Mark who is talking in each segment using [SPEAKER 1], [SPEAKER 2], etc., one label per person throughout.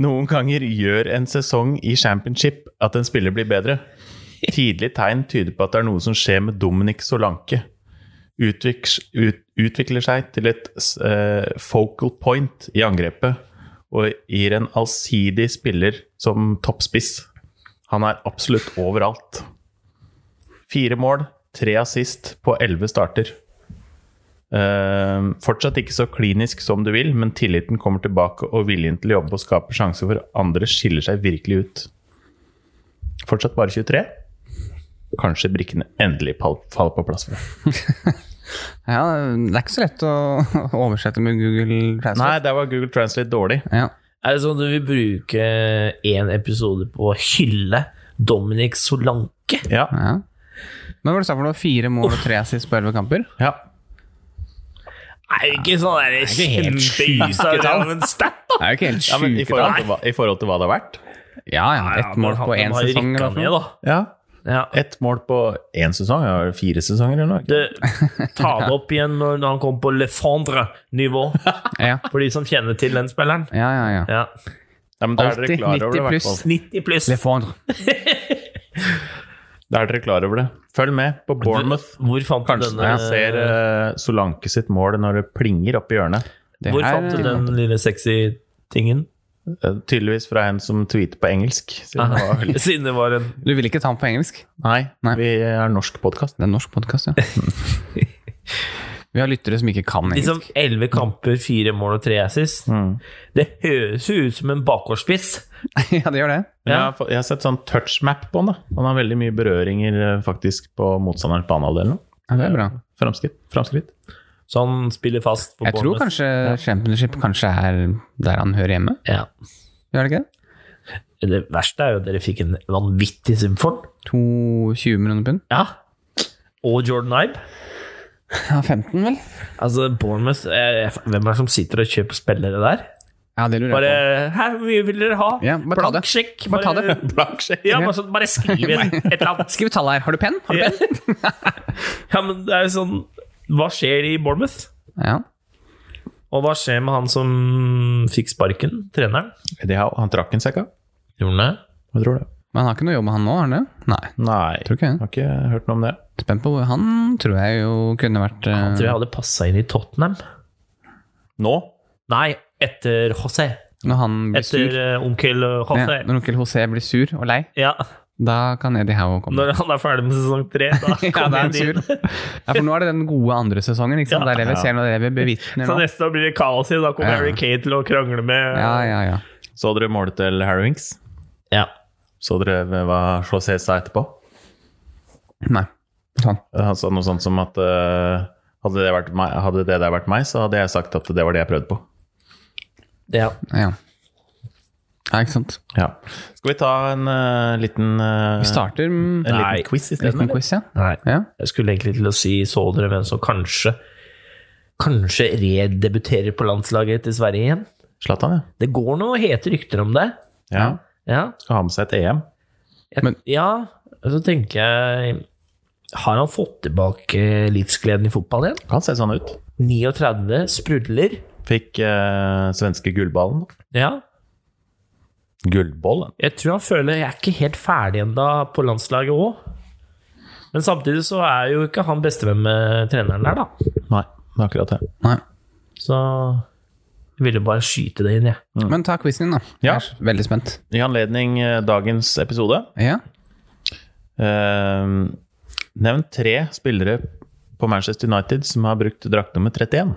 [SPEAKER 1] Noen ganger gjør en sesong i championship at en spiller blir bedre. Tidlige tegn tyder på at det er noe som skjer med Dominic Solanke. Utviks- ut, utvikler seg til et eh, focal point i angrepet og gir en allsidig spiller som toppspiss. Han er absolutt overalt. Fire mål, tre assist på elleve starter. Eh, fortsatt ikke så klinisk som du vil, men tilliten kommer tilbake, og viljen til å jobbe og skape sjanser for andre skiller seg virkelig ut. Fortsatt bare 23. Kanskje brikkene endelig pal- faller på plass for deg.
[SPEAKER 2] Ja, det er ikke så lett å oversette med Google Translate.
[SPEAKER 1] Nei, der var Google Translate dårlig.
[SPEAKER 2] Ja.
[SPEAKER 3] Er det sånn at du vil bruke én episode på å hylle Dominic Solanke?
[SPEAKER 1] Ja.
[SPEAKER 2] ja. Men hva var det du sa for noe? Fire mål og tre assist på elleve kamper?
[SPEAKER 1] ja.
[SPEAKER 3] Er det ikke sånn der altså, kjempeysa men sterkt, da?
[SPEAKER 2] Det er jo ikke helt
[SPEAKER 1] ja men i
[SPEAKER 2] sjuke
[SPEAKER 1] forhold,
[SPEAKER 2] tall.
[SPEAKER 1] til hva, I forhold til hva det har vært?
[SPEAKER 2] Ja, ja. Ett mål på én sesong. eller noe.
[SPEAKER 3] da.
[SPEAKER 1] Ja.
[SPEAKER 3] Ja.
[SPEAKER 1] Ett mål på én sesong? Ja, fire sesonger eller noe?
[SPEAKER 3] Du, ta det opp igjen når når han kom på Le Fendre-nivå,
[SPEAKER 2] Ja,
[SPEAKER 3] for de som kjenner til den spilleren.
[SPEAKER 2] ja, ja. ja.
[SPEAKER 3] Ja.
[SPEAKER 1] Ja, men da er dere
[SPEAKER 2] Alltid
[SPEAKER 1] klar over det, i
[SPEAKER 2] 90
[SPEAKER 1] hvert
[SPEAKER 2] pluss.
[SPEAKER 1] fall.
[SPEAKER 3] 90 pluss.
[SPEAKER 2] Le Fondre.
[SPEAKER 1] Da er dere klar over det. Følg med på Bournemouth.
[SPEAKER 3] Hvor fant du
[SPEAKER 1] Kanskje
[SPEAKER 3] denne,
[SPEAKER 1] dere ser eh, Solanke sitt mål når det plinger oppi hjørnet.
[SPEAKER 2] Det
[SPEAKER 3] hvor
[SPEAKER 2] er-
[SPEAKER 3] fant du den lille sexy tingen?
[SPEAKER 1] Eh, Tydeligvis fra en som tweeter på engelsk. Siden det var veldig...
[SPEAKER 3] Siden det var en
[SPEAKER 2] Du vil ikke ta den på engelsk?
[SPEAKER 1] Nei,
[SPEAKER 2] Nei.
[SPEAKER 1] vi er norsk podkast.
[SPEAKER 2] Det er en norsk podkast, ja. Vi har lyttere som ikke kan engelsk.
[SPEAKER 3] liksom elleve kamper, fire mål og tre assist.
[SPEAKER 1] Mm.
[SPEAKER 3] Det høres jo ut som en bakgårdsspiss. Liksom-
[SPEAKER 2] ja, det gjør det.
[SPEAKER 1] Jeg, har fått- jeg har sett sånn touchmap på han. da. Han har veldig mye berøringer eh, faktisk på motstanderens banehalvdel nå.
[SPEAKER 2] Ja, det er bra.
[SPEAKER 1] Framskritt. Framskritt.
[SPEAKER 3] Så han Sånn spiller fast på
[SPEAKER 2] Jeg tror
[SPEAKER 3] Bournemouth.
[SPEAKER 2] kanskje Championship kanskje er der han hører hjemme.
[SPEAKER 3] Ja.
[SPEAKER 2] Gjør det ikke det?
[SPEAKER 3] Det verste er jo at dere fikk en vanvittig sum for den.
[SPEAKER 2] 22 millioner pund?
[SPEAKER 3] Ja. Og Jordan Ibe.
[SPEAKER 2] Ja, 15 vel?
[SPEAKER 3] Altså, Bournemouth eh, Hvem er det som sitter og kjøper spillere der?
[SPEAKER 2] Ja, det lurer
[SPEAKER 3] Bare
[SPEAKER 2] jeg på.
[SPEAKER 3] Her, hvor mye vil dere ha?
[SPEAKER 2] Ja, bare ta det.
[SPEAKER 3] Blank sjekk.
[SPEAKER 2] Bare ta det.
[SPEAKER 3] Ja, bare, sånn, bare skriv en, et eller annet.
[SPEAKER 2] Skriv tallet her. Har du penn? Har du penn?
[SPEAKER 3] Ja, men det er jo sånn Hva skjer i Bournemouth?
[SPEAKER 2] Ja.
[SPEAKER 3] Og hva skjer med han som fikk sparken? Treneren?
[SPEAKER 1] De har, han trakk en sekk av.
[SPEAKER 3] Gjorde han det?
[SPEAKER 1] Hva tror du?
[SPEAKER 2] Men han har ikke noe jobb, han nå? har han det? Nei.
[SPEAKER 1] Nei,
[SPEAKER 2] Tror ikke det.
[SPEAKER 1] jeg har ikke hørt noe om det.
[SPEAKER 2] Spent på hvor han tror jeg jo kunne vært
[SPEAKER 3] Jeg
[SPEAKER 2] eh,
[SPEAKER 3] tror jeg hadde passa inn i Tottenham.
[SPEAKER 1] Nå?
[SPEAKER 3] Nei, etter José.
[SPEAKER 2] Når han blir
[SPEAKER 3] Etter
[SPEAKER 2] sur.
[SPEAKER 3] eh, onkel José.
[SPEAKER 2] Ja, når onkel José blir sur og lei,
[SPEAKER 3] Ja.
[SPEAKER 2] da kan Eddie Howe komme.
[SPEAKER 3] Når han er ferdig med sesong tre, da
[SPEAKER 2] Ja,
[SPEAKER 3] kommer
[SPEAKER 2] da er
[SPEAKER 3] han
[SPEAKER 2] han sur.
[SPEAKER 3] inn.
[SPEAKER 2] Ja, for nå er det den gode andre sesongen. Ikke sant? Der lever, ser når lever bevitner
[SPEAKER 3] Så
[SPEAKER 2] nå.
[SPEAKER 3] neste år blir Sånn det kaos igjen. Da kommer
[SPEAKER 2] Ja.
[SPEAKER 3] Harry Kane til å krangle med
[SPEAKER 2] Ja, ja, ja.
[SPEAKER 1] Så dere målet til Harry Winks?
[SPEAKER 3] Ja.
[SPEAKER 1] Så dere hva José sa etterpå?
[SPEAKER 2] Nei. Sånn.
[SPEAKER 1] Han sa noe sånt som at eh, hadde, det vært meg, hadde det der vært meg, så hadde jeg sagt at det var det jeg prøvde på.
[SPEAKER 3] Ja.
[SPEAKER 2] Ja. ja, ikke sant.
[SPEAKER 1] Ja. Skal vi ta en eh, liten, eh,
[SPEAKER 2] Vi starter med
[SPEAKER 1] en
[SPEAKER 3] Nei.
[SPEAKER 1] liten quiz
[SPEAKER 2] en liten
[SPEAKER 1] isteden?
[SPEAKER 2] quiz, ja.
[SPEAKER 3] Nei.
[SPEAKER 2] ja.
[SPEAKER 3] Jeg skulle egentlig til å si så dere hvem som kanskje Kanskje redebuterer på landslaget til Sverige igjen?
[SPEAKER 1] Zlatan, ja.
[SPEAKER 3] Det går noe hete rykter om det.
[SPEAKER 1] ja.
[SPEAKER 3] Ja.
[SPEAKER 1] Skal ha med seg et EM.
[SPEAKER 3] Jeg,
[SPEAKER 2] Men-
[SPEAKER 3] ja, så tenker jeg Har han fått tilbake eh, livsgleden i fotball igjen?
[SPEAKER 1] Kan se sånn ut.
[SPEAKER 3] 39 sprudler.
[SPEAKER 1] Fikk eh, svenske gullballen.
[SPEAKER 3] Ja.
[SPEAKER 1] Gullbollen?
[SPEAKER 3] Jeg tror han føler jeg er ikke helt ferdig ennå på landslaget òg. Men samtidig så er jo ikke han bestevenn med treneren der, da.
[SPEAKER 1] Nei, det er akkurat det.
[SPEAKER 2] Nei.
[SPEAKER 3] Så jeg ville bare skyte det inn, jeg.
[SPEAKER 2] Men ta quizen din, da.
[SPEAKER 1] Ja.
[SPEAKER 2] Jeg er veldig spent.
[SPEAKER 1] I anledning eh, dagens episode,
[SPEAKER 2] Ja.
[SPEAKER 1] eh, nevn tre spillere på Manchester United som har brukt drakt nummer 31.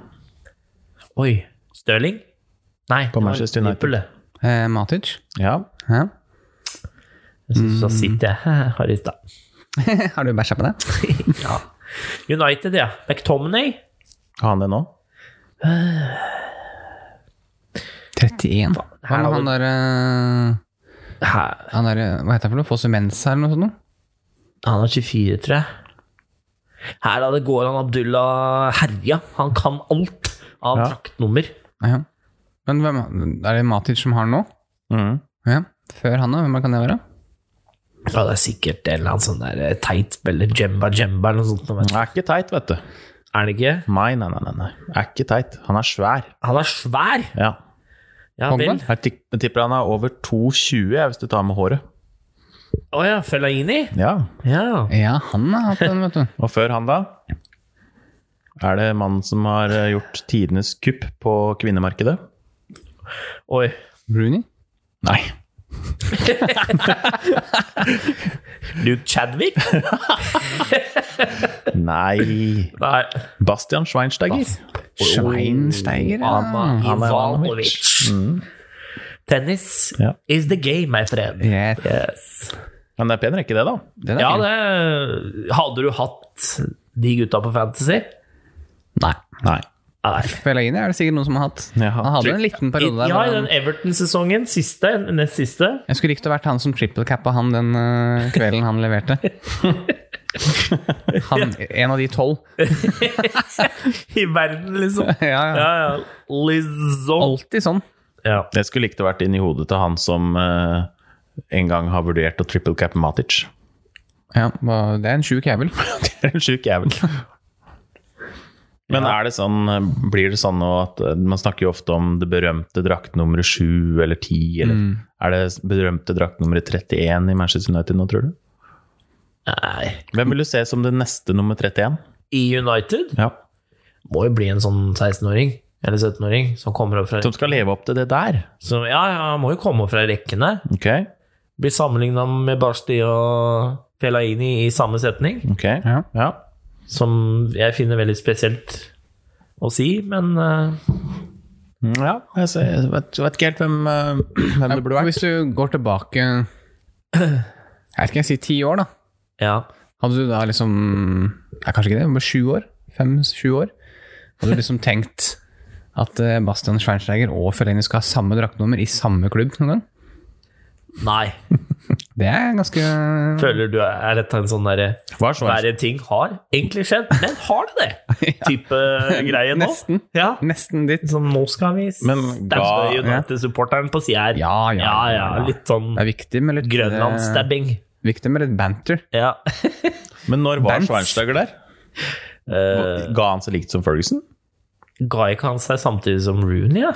[SPEAKER 3] Oi. Stirling? Nei, det var
[SPEAKER 1] Manchester United.
[SPEAKER 3] Liverpool, det.
[SPEAKER 2] Eh, Matic.
[SPEAKER 1] Ja.
[SPEAKER 2] Ja.
[SPEAKER 3] Jeg synes
[SPEAKER 1] Mm.
[SPEAKER 3] da sitter jeg her i stad.
[SPEAKER 2] Har du bæsja på deg?
[SPEAKER 3] Ja. United, ja. McTominay.
[SPEAKER 1] Har han det nå?
[SPEAKER 2] 31. Hva
[SPEAKER 3] her
[SPEAKER 2] med
[SPEAKER 3] har
[SPEAKER 2] han
[SPEAKER 3] du-
[SPEAKER 2] derre
[SPEAKER 3] Hæ?
[SPEAKER 2] Han derre Hva heter det for noe? Fosumensa eller noe sånt? noe?
[SPEAKER 3] Han er 24, tror jeg. Her da, det går han Abdullah herja. Han kan alt av
[SPEAKER 1] Ja.
[SPEAKER 3] draktnummer.
[SPEAKER 2] Ja. Men hvem er det Matic som har den nå?
[SPEAKER 1] Mhm.
[SPEAKER 2] Ja. Før han, da? Hvem kan det være?
[SPEAKER 3] Ja, det er sikkert en eller annen sånn der eh, teit spiller, Jemba Jemba eller noe sånt. nå, vet du.
[SPEAKER 1] Er ikke teit, vet du.
[SPEAKER 3] Er han ikke?
[SPEAKER 1] Nei, nei, nei, nei, nei. Er ikke teit. Han er svær.
[SPEAKER 3] Han er svær!
[SPEAKER 1] Ja.
[SPEAKER 3] Ja
[SPEAKER 2] Pogba?
[SPEAKER 3] vel.
[SPEAKER 1] Jeg tip- jeg tipper han er over 2,20 jeg, hvis du tar med håret.
[SPEAKER 3] Å ja, Fellaini?
[SPEAKER 1] Ja.
[SPEAKER 3] Ja.
[SPEAKER 2] Ja, han har hatt den, vet du.
[SPEAKER 1] Og før han, da? Er det mannen som har eh, gjort tidenes kupp på kvinnemarkedet?
[SPEAKER 3] Oi.
[SPEAKER 2] Bruni?
[SPEAKER 1] Nei.
[SPEAKER 3] Luke Chadwick?
[SPEAKER 1] Nei
[SPEAKER 3] Nei.
[SPEAKER 1] Bastian Schweinsteiger.
[SPEAKER 2] Schweinsteiger, ja.
[SPEAKER 3] Anna
[SPEAKER 1] Anna
[SPEAKER 3] Ivanovic. Tennis
[SPEAKER 1] Ja.
[SPEAKER 3] is the game, my friend.
[SPEAKER 2] Yes.
[SPEAKER 3] Yes.
[SPEAKER 1] Men det er pen rekke, det, da.
[SPEAKER 2] Den er
[SPEAKER 3] Ja,
[SPEAKER 2] fin.
[SPEAKER 3] det Hadde du hatt de gutta på Fantasy?
[SPEAKER 2] Nei.
[SPEAKER 1] Nei.
[SPEAKER 3] Nei.
[SPEAKER 2] Fellaini er det sikkert noen som har hatt.
[SPEAKER 1] Ja.
[SPEAKER 2] Han hadde en liten periode der.
[SPEAKER 3] Ja,
[SPEAKER 2] hvor
[SPEAKER 3] i
[SPEAKER 2] han-
[SPEAKER 3] den Everton-sesongen. Siste. Nest siste.
[SPEAKER 2] Jeg skulle likt å vært han som trippelcappa han den eh, kvelden han leverte. Han, en av de tolv.
[SPEAKER 3] I verden, liksom.
[SPEAKER 2] Ja, ja.
[SPEAKER 3] Ja, ja. Lizzo.
[SPEAKER 2] Alltid sånn.
[SPEAKER 3] Ja.
[SPEAKER 1] Jeg skulle likt å vært inn i hodet til han som eh, en gang har vurdert å triple cap Matic.
[SPEAKER 2] Ja, hva- det er en sjuk jævel.
[SPEAKER 1] Det er en sjuk jævel. Men er det sånn, eh, blir det sånn nå at eh, man snakker jo ofte om det berømte draktnummeret 7 eller 10, eller er det berømte draktnummeret 31 i Manchester United nå, tror du?
[SPEAKER 3] Nei.
[SPEAKER 1] Hvem vil du se som det neste nummer 31?
[SPEAKER 3] I United
[SPEAKER 1] Ja.
[SPEAKER 3] må jo bli en sånn 16-åring. Eller 17-åring som kommer opp fra
[SPEAKER 1] Som skal leve opp til det der.
[SPEAKER 3] som, Ja, ja, han må jo komme opp fra rekkene.
[SPEAKER 1] Ok,
[SPEAKER 3] Blir sammenligna med Basti og Fellaini i samme setning.
[SPEAKER 1] ok.
[SPEAKER 2] Ja.
[SPEAKER 1] Ja.
[SPEAKER 3] Som jeg finner veldig spesielt å si, men eh,
[SPEAKER 1] Ja, jeg, ser, jeg vet, jeg vet ikke helt hvem, eh, hvem det burde vært.
[SPEAKER 2] Hvis du går tilbake Jeg vet ikke, jeg sier ti år, da.
[SPEAKER 3] ja.
[SPEAKER 2] Hadde du da liksom Nei, kanskje ikke det, men sju år? Fem-sju år? Hadde du liksom tenkt at eh, Bastian Schweinsteiger og Fellaini skal ha samme draktnummer i samme klubb noen gang?
[SPEAKER 3] Nei.
[SPEAKER 2] Det er ganske
[SPEAKER 3] Føler du er dette en sånn derre
[SPEAKER 1] Hva er Schwein-
[SPEAKER 3] Verre ting har egentlig skjedd, men har det det? Type eh, greie nå.
[SPEAKER 2] Nesten.
[SPEAKER 3] Ja.
[SPEAKER 2] Nesten ditt.
[SPEAKER 3] Sånn, nå skal vi
[SPEAKER 1] Men ga-
[SPEAKER 3] stabbe United-supporteren på sida her.
[SPEAKER 2] Ja, ja,
[SPEAKER 3] ja,
[SPEAKER 2] ja,
[SPEAKER 3] ja,
[SPEAKER 2] ja.
[SPEAKER 3] Litt sånn
[SPEAKER 2] Det er viktig med litt
[SPEAKER 3] Grønland-stabbing.
[SPEAKER 2] eh, Viktig med litt banter.
[SPEAKER 3] Ja.
[SPEAKER 1] Men når var
[SPEAKER 2] Bent.
[SPEAKER 1] Schweinsteiger der?
[SPEAKER 3] Eh,
[SPEAKER 1] Ga han seg likt som Ferguson?
[SPEAKER 3] ga ikke han seg samtidig som Rooney, ja?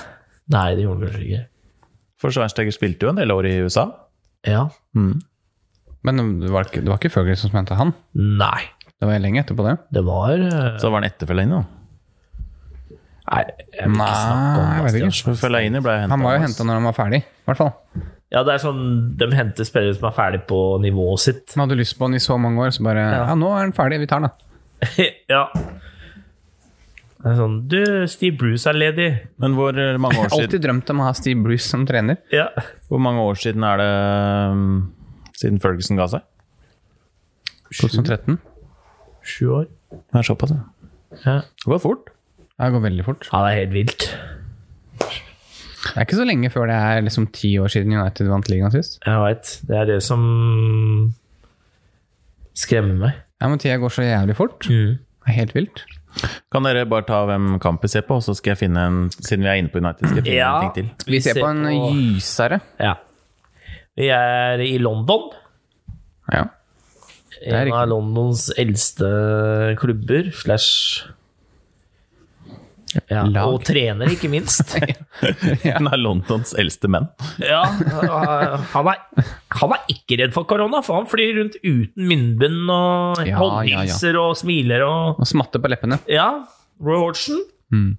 [SPEAKER 3] Nei, det gjorde han kanskje ikke.
[SPEAKER 1] For Schweinsteiger spilte jo en del år i USA.
[SPEAKER 3] Ja.
[SPEAKER 2] Men det var ikke, det var ikke Ferguson som hentet han.
[SPEAKER 3] Nei.
[SPEAKER 2] Det var lenge etterpå, det.
[SPEAKER 3] Det var eh,
[SPEAKER 1] Så var han etterfellende, da.
[SPEAKER 3] Nei, jeg vil
[SPEAKER 2] Nei,
[SPEAKER 3] ikke snakke om
[SPEAKER 2] jeg vet
[SPEAKER 3] Bastian.
[SPEAKER 2] ikke.
[SPEAKER 1] Fellaini ble hentet
[SPEAKER 2] Han var jo henta når han var ferdig, i hvert fall.
[SPEAKER 3] Ja, det er sånn De henter spillere som er ferdig på nivået sitt.
[SPEAKER 2] Han hadde lyst på han i så mange år, så bare Ja, nå er han ferdig, vi tar den, da.
[SPEAKER 3] ja. Det er sånn Du, Steve Bruce er ledig.
[SPEAKER 1] Men hvor eh, mange, år siden,
[SPEAKER 2] Alltid drømt om å ha Steve Bruce som trener.
[SPEAKER 3] Ja.
[SPEAKER 1] hvor mange år siden er det um, siden Ferguson ga seg?
[SPEAKER 2] 2013.
[SPEAKER 3] Sju år.
[SPEAKER 1] Det er såpass, ja.
[SPEAKER 3] Ja.
[SPEAKER 1] Det går fort.
[SPEAKER 2] Det går veldig fort.
[SPEAKER 3] ja, det er helt vilt.
[SPEAKER 2] Det er ikke så lenge før det er liksom ti år siden United vant ligaen sist.
[SPEAKER 3] Jeg veit. Det er det som skremmer meg.
[SPEAKER 2] Ja, men tida går så jævlig fort.
[SPEAKER 1] Mm.
[SPEAKER 2] Det er helt vilt.
[SPEAKER 1] Kan dere bare ta hvem kamp vi ser på, og så skal jeg finne en Siden vi er inne på United, skal jeg finne en ting til.
[SPEAKER 2] Vi ser på en gysere.
[SPEAKER 3] Ja. Vi er i London.
[SPEAKER 2] Ja. er
[SPEAKER 3] En av
[SPEAKER 2] riktig.
[SPEAKER 3] Londons eldste klubber slash ja,
[SPEAKER 2] Lag.
[SPEAKER 3] Og trener, ikke minst.
[SPEAKER 1] Han er Londons eldste menn.
[SPEAKER 3] Ja, øh, han er, han er ikke redd for korona, for han flyr rundt uten munnbind og
[SPEAKER 2] Ja,
[SPEAKER 3] håndhilser og smiler og
[SPEAKER 2] Og smatter på leppene.
[SPEAKER 3] Ja, Roy Hodgson.
[SPEAKER 2] Mm.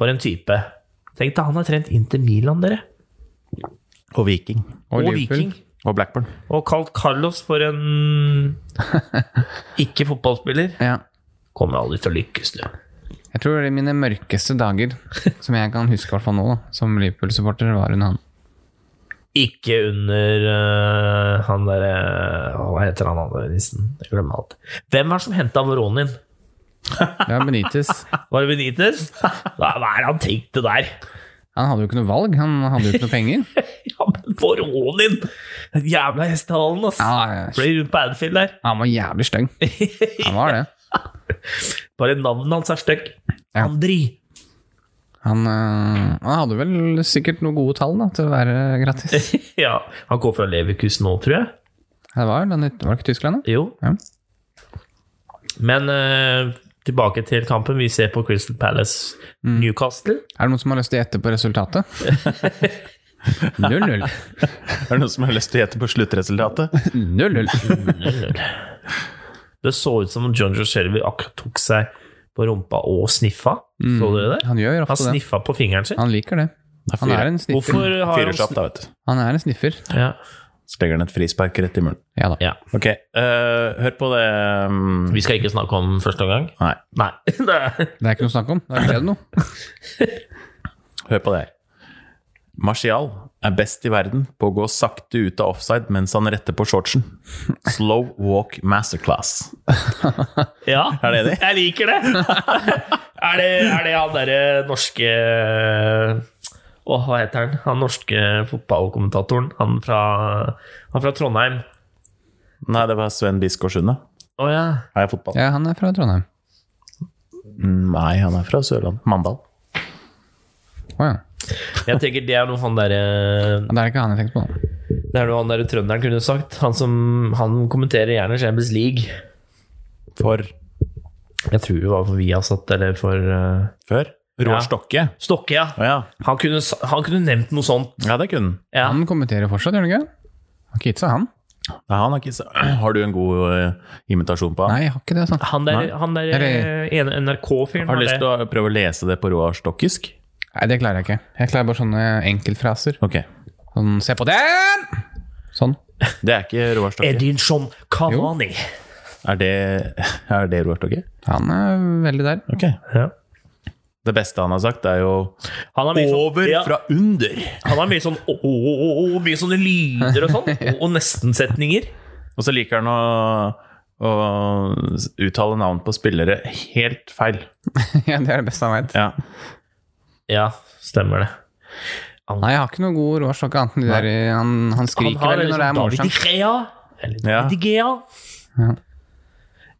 [SPEAKER 3] For en type. Tenk deg, han har trent inn til Milan, dere.
[SPEAKER 1] Og Viking.
[SPEAKER 2] Og,
[SPEAKER 3] Og
[SPEAKER 2] Liverpool.
[SPEAKER 3] Viking.
[SPEAKER 1] Og Blackburn.
[SPEAKER 3] Og kalt Carlos for en ikke-fotballspiller.
[SPEAKER 2] Ja.
[SPEAKER 3] Kommer aldri til å lykkes, du.
[SPEAKER 2] Jeg tror det er mine mørkeste dager, som jeg kan huske i hvert fall nå, da, som Liverpool-supporter, var under han.
[SPEAKER 3] Ikke under øh, han derre Hva heter han andre nissen? Jeg glemmer alt. Hvem var det som henta Voronin?
[SPEAKER 2] Det var Benitez.
[SPEAKER 3] Var det Benitez? Hva hva er det han tenkte der?
[SPEAKER 2] Han hadde jo ikke noe valg, han hadde jo ikke noe penger.
[SPEAKER 3] Ja, men Voronin! Den jævla hestehalen, ass.
[SPEAKER 2] Ja, ja,
[SPEAKER 3] Fløy rundt på Anfield der.
[SPEAKER 2] han var jævlig stygg. Han var det.
[SPEAKER 3] Bare navnet hans er stygt.
[SPEAKER 2] Ja.
[SPEAKER 3] Andri.
[SPEAKER 2] Han, øh, han hadde vel sikkert noen gode tall da, til å være gratis.
[SPEAKER 3] Ja, han går fra Leverkus nå, tror jeg.
[SPEAKER 2] Det var, den, var det ikke Tyskland, da?
[SPEAKER 3] Jo.
[SPEAKER 2] Ja.
[SPEAKER 3] Men eh, tilbake til kampen. Vi ser på Crystal Palace
[SPEAKER 2] Mm.
[SPEAKER 3] Newcastle.
[SPEAKER 2] Er det noen som har lyst til å gjette på resultatet? 0-0.
[SPEAKER 1] Er det noen som har lyst til å gjette på sluttresultatet?
[SPEAKER 2] 0-0.
[SPEAKER 3] Det så ut som om John Joe Shelby akkurat tok seg på rumpa og sniffa. Så dere det?
[SPEAKER 2] Han gjør
[SPEAKER 3] Han
[SPEAKER 2] ofte det.
[SPEAKER 3] sniffa på fingeren sin.
[SPEAKER 2] Han liker det. Han er en sniffer.
[SPEAKER 3] Hvorfor har
[SPEAKER 1] Fyrer
[SPEAKER 3] han
[SPEAKER 1] seg opp, da, vet du.
[SPEAKER 2] Han er en sniffer.
[SPEAKER 3] Ja.
[SPEAKER 1] Så legger han et frispark rett i munnen.
[SPEAKER 2] Ja da.
[SPEAKER 3] ja.
[SPEAKER 1] Ok, eh, hør på det mm,
[SPEAKER 3] Vi skal ikke snakke om første omgang?
[SPEAKER 1] Nei,
[SPEAKER 3] Nei. Det er-
[SPEAKER 2] Det er ikke noe å snakke om. Da skjer det noe.
[SPEAKER 1] hør på det her. Martial er best i verden på å gå sakte ut av offside mens han retter på shortsen. Slow walk masterclass.
[SPEAKER 3] ja.
[SPEAKER 1] Er det enig?
[SPEAKER 3] Jeg liker det! er, det er det han derre norske Åh, hva heter han? Han norske fotballkommentatoren. Han fra, han fra Trondheim.
[SPEAKER 1] Nei, det var Sven Biskår Sunde.
[SPEAKER 3] Å ja.
[SPEAKER 1] Er jeg fotball?
[SPEAKER 2] Ja, han er fra Trondheim.
[SPEAKER 1] Nei, han er fra Sørlandet. Mandal.
[SPEAKER 2] Å ja.
[SPEAKER 3] Jeg tenker det er noe han derre
[SPEAKER 2] Ja, Det er ikke han jeg tenkte på. da.
[SPEAKER 3] Det er noe han der trønderen kunne sagt. Han som han kommenterer gjerne Champions League.
[SPEAKER 1] For
[SPEAKER 3] Jeg tror det var for Viasat eller for eh,
[SPEAKER 1] før?
[SPEAKER 3] Ja.
[SPEAKER 1] Roar Stokke.
[SPEAKER 3] Stokke, ja.
[SPEAKER 1] Å ja.
[SPEAKER 3] Han kunne, sa- han kunne nevnt noe sånt.
[SPEAKER 1] ja, det kunne han.
[SPEAKER 3] Ja.
[SPEAKER 2] Han kommenterer fortsatt, gjør han ikke? Har ikke gitt seg, han?
[SPEAKER 1] Nei, han har, ikke, sa- har du en god eh, imitasjon på han?
[SPEAKER 2] Nei, jeg har ikke det. sant?
[SPEAKER 3] Han der, han der
[SPEAKER 2] Eller-
[SPEAKER 3] eh, ene NRK-fyren
[SPEAKER 1] Har du
[SPEAKER 3] var
[SPEAKER 1] lyst
[SPEAKER 3] det.
[SPEAKER 1] til å prøve å lese det på Roar Stokkisk?
[SPEAKER 2] Nei, det klarer jeg ikke. Jeg klarer bare sånne enkeltfraser.
[SPEAKER 1] Ok.
[SPEAKER 2] Sånn, se på den! Sånn.
[SPEAKER 1] Det er ikke Roar Stokke.
[SPEAKER 3] Edinson Cavani.
[SPEAKER 1] Er det, er det Roar Stokke?
[SPEAKER 2] Han er veldig der.
[SPEAKER 1] Ok.
[SPEAKER 3] Ja.
[SPEAKER 1] Det beste han har sagt, er jo
[SPEAKER 3] Han har mye sånn,
[SPEAKER 1] Over
[SPEAKER 3] ja,
[SPEAKER 1] fra under!
[SPEAKER 3] Han har mye sånn å, å, å, å, mye sånne lyder og sånn. Og, og nesten-setninger.
[SPEAKER 1] Og så liker han å, å uttale navn på spillere helt feil.
[SPEAKER 2] ja, det er det beste han vet.
[SPEAKER 1] Ja.
[SPEAKER 3] Ja, stemmer det.
[SPEAKER 2] Nei, jeg har ikke noe god råstokke annet enn de der han, han skriker
[SPEAKER 3] har
[SPEAKER 2] veldig
[SPEAKER 3] liksom
[SPEAKER 2] når det er
[SPEAKER 3] David
[SPEAKER 2] målsjanse.
[SPEAKER 3] Di Gea. Eller David
[SPEAKER 1] Ja.
[SPEAKER 3] Di Gea.
[SPEAKER 2] Ja.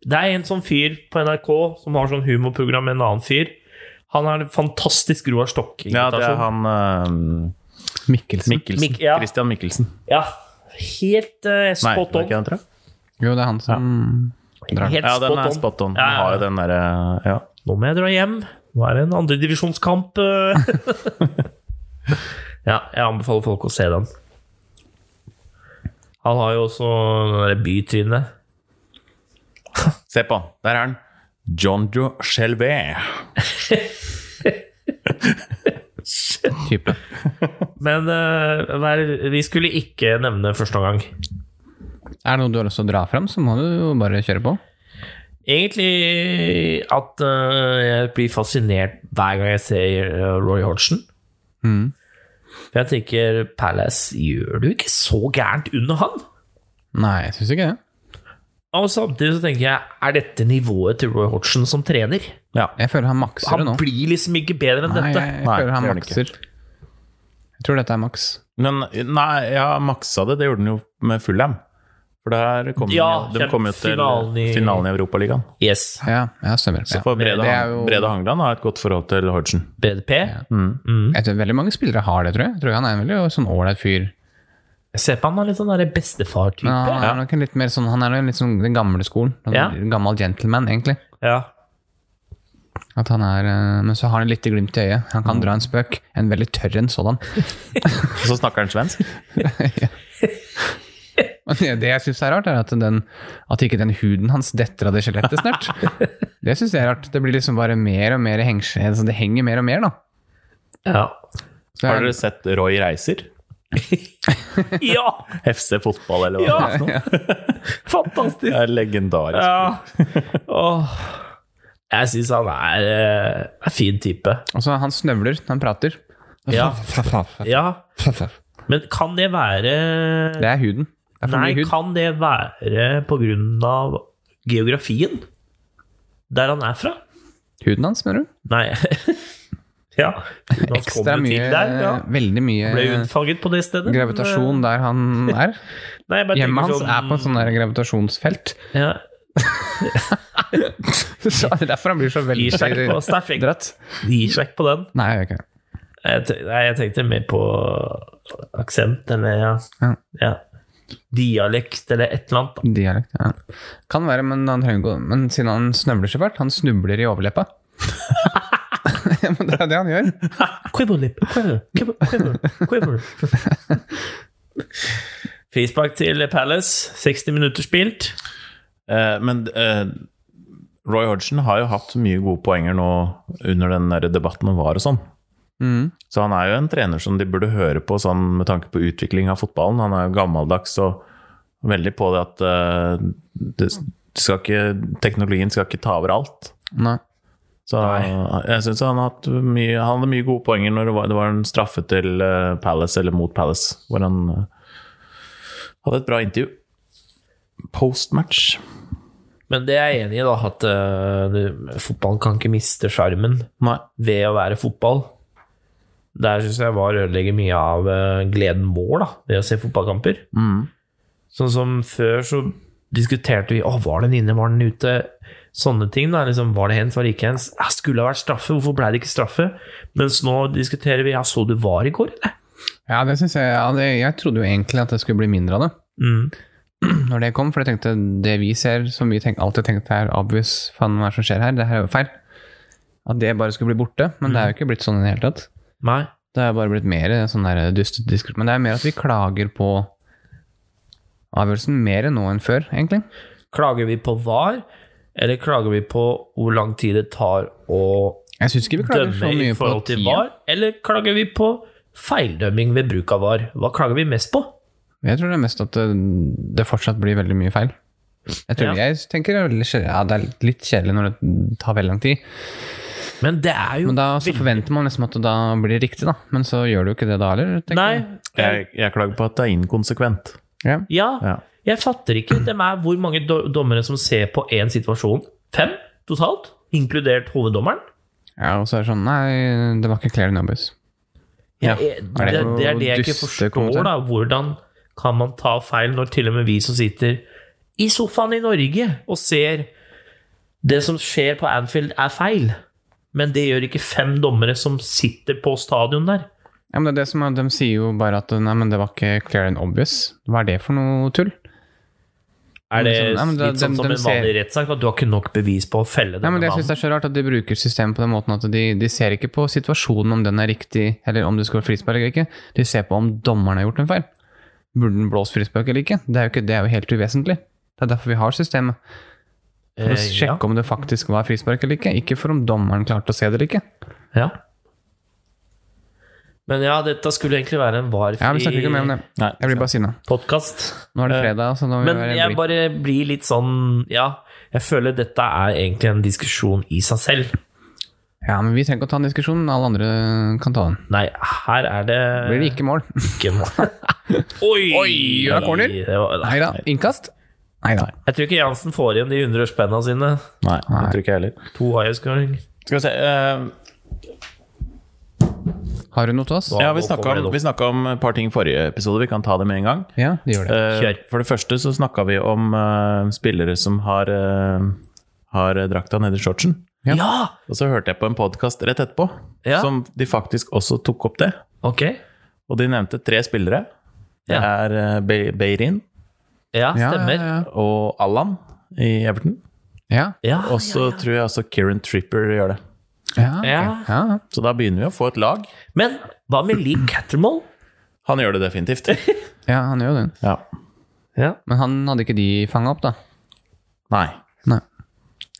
[SPEAKER 3] Det er en sånn fyr på NRK som har sånn humorprogram med en annen fyr. Han har en fantastisk Roar
[SPEAKER 1] ja, det er
[SPEAKER 3] Stokk-invitasjon.
[SPEAKER 1] han eh,
[SPEAKER 2] Mikkelsen.
[SPEAKER 1] Mikkelsen.
[SPEAKER 3] Mik- ja.
[SPEAKER 1] Christian Mikkelsen.
[SPEAKER 3] Ja, helt eh,
[SPEAKER 1] Nei,
[SPEAKER 3] spot
[SPEAKER 1] det er
[SPEAKER 3] on.
[SPEAKER 1] ikke han, tror jeg.
[SPEAKER 2] Jo, det er han som drar.
[SPEAKER 3] Helt
[SPEAKER 1] Ja, den
[SPEAKER 3] spot
[SPEAKER 1] er
[SPEAKER 3] on.
[SPEAKER 1] spot on.
[SPEAKER 3] Ja,
[SPEAKER 1] Han
[SPEAKER 3] ja,
[SPEAKER 1] har
[SPEAKER 3] ja.
[SPEAKER 1] jo den derre ja.
[SPEAKER 3] Nå må jeg dra hjem. Nå er det en andredivisjonskamp. eh. ja, jeg anbefaler folk å se den. Han har jo også det der bytrynet.
[SPEAKER 1] Se på, der er han. Jonjo Shelvet.
[SPEAKER 2] type.
[SPEAKER 3] Men eh, hver- vi skulle ikke nevne første omgang.
[SPEAKER 2] Er det noe du har lyst til å dra fram, så må du jo bare kjøre på.
[SPEAKER 3] Egentlig at eh, jeg blir fascinert hver gang jeg ser eh, Roy Hodgson.
[SPEAKER 1] Mm.
[SPEAKER 2] Mhm.
[SPEAKER 3] For jeg tenker Palace gjør det jo ikke så gærent under han.
[SPEAKER 2] Nei, jeg syns ikke det.
[SPEAKER 3] Og samtidig så tenker jeg, er dette nivået til Roy Hodgson som trener?
[SPEAKER 2] Jeg føler han makser det
[SPEAKER 3] Han
[SPEAKER 2] nå.
[SPEAKER 3] blir liksom ikke bedre enn
[SPEAKER 2] Nei, jeg,
[SPEAKER 3] dette.
[SPEAKER 2] jeg
[SPEAKER 1] Nei,
[SPEAKER 2] føler han
[SPEAKER 1] det gjør han ikke.
[SPEAKER 2] makser. Jeg tror dette er maks.
[SPEAKER 1] Men nei, ja, maksa det. Det gjorde den jo med Fulham. For der kom
[SPEAKER 3] Ja,
[SPEAKER 1] den, jo- de kom jo til
[SPEAKER 3] finalen
[SPEAKER 1] finalen i,
[SPEAKER 3] i-
[SPEAKER 1] Europaligaen.
[SPEAKER 3] Yes.
[SPEAKER 2] Ja, ja stemmer.
[SPEAKER 1] Så
[SPEAKER 2] Ja.
[SPEAKER 1] for
[SPEAKER 2] Det-
[SPEAKER 1] Brede,
[SPEAKER 2] det er jo-
[SPEAKER 1] Brede Hangland har et godt forhold til Hodgson.
[SPEAKER 3] BDP.
[SPEAKER 2] Jeg tror veldig mange spillere har det, tror jeg. Jeg tror han er en veldig sånn ålreit fyr.
[SPEAKER 3] Jeg ser på han er litt sånn der bestefar-type.
[SPEAKER 2] Men han er nok en litt mer sånn Han er nok litt sånn den gamle skolen. En
[SPEAKER 3] Ja.
[SPEAKER 2] gammel gentleman, egentlig.
[SPEAKER 3] Ja.
[SPEAKER 2] At han er, eh, men så har han litt glimt i øyet. Han kan dra en spøk. En veldig tørr en sådan.
[SPEAKER 1] Og så snakker han svensk.
[SPEAKER 2] Men Det det jeg syns er rart, er at, den, at ikke den huden hans detter av det skjelettet snart. Det syns jeg er rart. Det blir liksom bare mer og mer hengse, altså det henger mer og mer, da.
[SPEAKER 3] Ja.
[SPEAKER 2] Så det
[SPEAKER 1] Har
[SPEAKER 2] er-
[SPEAKER 1] dere sett Roy Reiser?
[SPEAKER 3] ja!
[SPEAKER 1] FC Fotball, eller hva det
[SPEAKER 3] Ja.
[SPEAKER 1] er. for noe?
[SPEAKER 3] Fantastisk.
[SPEAKER 1] Det er legendarisk.
[SPEAKER 3] Ja. Åh. Jeg syns han er eh, en fin type.
[SPEAKER 2] Og så han snøvler når han prater.
[SPEAKER 3] Ja. Ja.
[SPEAKER 2] Det
[SPEAKER 3] Men kan det være
[SPEAKER 2] er huden. Det er for
[SPEAKER 3] Nei,
[SPEAKER 2] mye hud.
[SPEAKER 3] kan det være på grunn av geografien? Der han er fra?
[SPEAKER 2] Huden hans, mener du?
[SPEAKER 3] Nei. ja. Han
[SPEAKER 2] Ekstra
[SPEAKER 3] kom jo
[SPEAKER 2] mye
[SPEAKER 3] til der, ja.
[SPEAKER 2] Veldig mye
[SPEAKER 3] Ble unnfanget på det stedet.
[SPEAKER 2] Eh,
[SPEAKER 3] eh,
[SPEAKER 2] gravitasjon der han er.
[SPEAKER 3] Nei, jeg bare
[SPEAKER 2] Hjemmet
[SPEAKER 3] tenker
[SPEAKER 2] hans
[SPEAKER 3] sånn-
[SPEAKER 2] er på et sånt der gravitasjonsfelt.
[SPEAKER 3] ja,
[SPEAKER 2] Så det er derfor han blir så veldig
[SPEAKER 3] Gir seg ikke på staffing.
[SPEAKER 2] dratt.
[SPEAKER 3] Gir seg ikke på den.
[SPEAKER 2] Nei, jeg gjør ikke det.
[SPEAKER 3] Jeg, te- nei, jeg tenkte mer på aksent, eller ja.
[SPEAKER 2] Ja.
[SPEAKER 3] ja. dialekt eller et eller annet. Da.
[SPEAKER 2] Dialekt, ja. Kan være, men, han trenger ikke å- men siden han snøvler så fælt, han snubler i overleppa. ja, men det er det han gjør.
[SPEAKER 3] Quibblelip, quibble, quibble, quibble, quibble. Frispark til Palace. 60 minutter spilt.
[SPEAKER 1] Eh, men eh, Roy Hodgson har jo hatt mye gode poenger nå under den der debatten om VAR og sånn.
[SPEAKER 3] Mm.
[SPEAKER 1] Så han er jo en trener som de burde høre på sånn med tanke på utvikling av fotballen. Han er jo gammeldags og veldig på det at eh, det det skal ikke, teknologien skal ikke ta over alt.
[SPEAKER 2] Nei.
[SPEAKER 1] Så jeg syns han, har hatt mye- han hadde mye gode poenger når det var, det var en straffe til eh, Palace, eller mot Palace, hvor han eh, hadde et bra intervju. Postmatch.
[SPEAKER 3] Men det er jeg enig i, da, at eh, det- fotballen kan ikke miste sjarmen
[SPEAKER 1] Nei.
[SPEAKER 3] ved å være fotball. Der syns jeg var ødelegger mye av eh, gleden vår, da, ved å se fotballkamper. Sånn som før så diskuterte vi Åh, var den inne, var den ute? Sånne ting. da, liksom, Var det hands, var det ikke hands? Ja, skulle ha vært straffe, hvorfor ble det ikke straffe? Mens nå diskuterer vi Ja, så du var i går, eller?
[SPEAKER 2] Ja, det synes jeg, ja, det, jeg trodde jo egentlig at det skulle bli mindre av det.
[SPEAKER 3] Mm.
[SPEAKER 2] Når det kom, for jeg tenkte det vi ser, som vi tenk, alltid tenkte er obvious, faen hva er det som skjer her, det her er jo feil. At det bare skulle bli borte, men
[SPEAKER 3] Mm.
[SPEAKER 2] det er jo ikke blitt sånn i det hele tatt.
[SPEAKER 3] Nei.
[SPEAKER 2] Det er bare blitt mer sånn der dustediskurs. Men det er mer at vi klager på avgjørelsen mer nå enn før, egentlig.
[SPEAKER 3] Klager vi på var, eller klager vi på hvor lang tid det tar å
[SPEAKER 2] Jeg syns ikke vi klager så
[SPEAKER 3] dømme i
[SPEAKER 2] mye på
[SPEAKER 3] forhold til
[SPEAKER 2] tida.
[SPEAKER 3] VAR, eller klager vi på feildømming ved bruk av VAR? Hva klager vi mest på?
[SPEAKER 2] Jeg tror det er mest at det, det fortsatt blir veldig mye feil. Jeg tror
[SPEAKER 3] Ja.
[SPEAKER 2] jeg tenker det er, veldig kjedelig- ja, det er litt kjedelig når det tar veldig lang tid.
[SPEAKER 3] Men det er jo
[SPEAKER 2] Men da så forventer man liksom at det da blir det riktig, da. Men så gjør det jo ikke det da heller. tenker
[SPEAKER 3] Nei.
[SPEAKER 2] jeg.
[SPEAKER 1] Jeg, jeg klager på at det er inkonsekvent.
[SPEAKER 2] Ja.
[SPEAKER 3] Ja,
[SPEAKER 1] Ja.
[SPEAKER 3] jeg fatter ikke. Dem er hvor mange do dommere som ser på én situasjon. Fem totalt, inkludert hoveddommeren.
[SPEAKER 2] ja, og så er det sånn Nei, det var ikke Claire Numbers.
[SPEAKER 1] Ja.
[SPEAKER 2] Er
[SPEAKER 3] Jeg- Det,
[SPEAKER 2] det
[SPEAKER 3] det er
[SPEAKER 2] noe
[SPEAKER 3] det jeg ikke
[SPEAKER 2] dyster
[SPEAKER 3] forstår,
[SPEAKER 2] kommentar?
[SPEAKER 3] da. Hvordan kan man ta feil når til og med vi som sitter i sofaen i Norge og ser det som skjer på Anfield, er feil? Men det gjør ikke fem dommere som sitter på stadion der.
[SPEAKER 2] Ja, men det er det som er, De sier jo bare at nei, men det var ikke clear and obvious. Hva er det for noe tull?
[SPEAKER 3] Er det
[SPEAKER 2] Liksom, nei, men det-
[SPEAKER 3] litt sånn
[SPEAKER 2] dem-
[SPEAKER 3] som
[SPEAKER 2] dem
[SPEAKER 3] en vanlig rettssak? At du har ikke nok bevis på å felle
[SPEAKER 2] Nei,
[SPEAKER 3] denne
[SPEAKER 2] men det jeg synes
[SPEAKER 3] mannen?
[SPEAKER 2] det er så rart at de bruker systemet på den måten at de, de ser ikke på situasjonen om den er riktig, eller om det skal være frispark eller ikke. De ser på om dommeren har gjort en feil. Burde den blåst frispark eller ikke? Det er jo, ikke, det er jo helt uvesentlig. Det er derfor vi har systemet. For å
[SPEAKER 3] Eh,
[SPEAKER 2] sjekke om det faktisk var frispark eller ikke, ikke for om dommeren klarte å se det eller ikke.
[SPEAKER 3] Eh, ja. ja. Men ja, dette skulle egentlig være en
[SPEAKER 2] Ja, Vi snakker ikke mer om
[SPEAKER 3] varfri
[SPEAKER 2] det.
[SPEAKER 1] Nei.
[SPEAKER 2] Jeg blir bare sinna.
[SPEAKER 3] podkast.
[SPEAKER 2] Nå er det fredag, så nå vil
[SPEAKER 3] Eh,
[SPEAKER 2] jeg
[SPEAKER 3] Men
[SPEAKER 2] være
[SPEAKER 3] jeg
[SPEAKER 2] blid.
[SPEAKER 3] bare blir litt sånn Ja, jeg føler dette er egentlig en diskusjon i seg selv.
[SPEAKER 2] Ja, men vi trenger ikke å ta en diskusjon. Alle andre kan ta den.
[SPEAKER 3] Nei, her er det
[SPEAKER 2] Blir det ikke mål?
[SPEAKER 3] ikke mål. Oi!
[SPEAKER 2] Oi, det er corner.
[SPEAKER 3] Det var-
[SPEAKER 2] Nei da. Innkast? Nei da.
[SPEAKER 3] Jeg tror ikke Jansen får igjen de 100-årspenna sine.
[SPEAKER 1] Nei, det tror ikke jeg heller.
[SPEAKER 3] To IS-skåring.
[SPEAKER 1] Skal vi se eh,
[SPEAKER 2] Har du noe til oss?
[SPEAKER 1] Ja, vi snakka om, vi snakket om et par ting i forrige episode. Vi kan ta det med en gang.
[SPEAKER 2] Ja, det gjør det.
[SPEAKER 1] Eh,
[SPEAKER 3] Kjør.
[SPEAKER 1] For det første så snakka vi om eh, spillere som har, eh, har drakta nedi shortsen.
[SPEAKER 2] Ja.
[SPEAKER 3] Ja!
[SPEAKER 1] Og så hørte jeg på en podkast rett etterpå
[SPEAKER 3] Ja.
[SPEAKER 1] som de faktisk også tok opp det.
[SPEAKER 3] Ok.
[SPEAKER 1] Og de nevnte tre spillere. Det er
[SPEAKER 3] Ja.
[SPEAKER 1] eh, Be- Beirin
[SPEAKER 3] Ja,
[SPEAKER 2] Ja,
[SPEAKER 3] Eh, stemmer.
[SPEAKER 2] ja, ja.
[SPEAKER 1] og Allan i Everton.
[SPEAKER 2] Ja.
[SPEAKER 3] Ja,
[SPEAKER 1] Og så tror jeg også Kieran Tripper gjør det.
[SPEAKER 2] Ja, ok.
[SPEAKER 3] Ja.
[SPEAKER 2] ja.
[SPEAKER 1] Så da begynner vi å få et lag.
[SPEAKER 3] Men hva med Lee Cattermole?
[SPEAKER 1] Han gjør det definitivt.
[SPEAKER 2] ja, han gjør jo det.
[SPEAKER 1] Ja.
[SPEAKER 3] Ja.
[SPEAKER 2] Men han hadde ikke de fanga opp, da?
[SPEAKER 1] Nei.
[SPEAKER 2] Nei.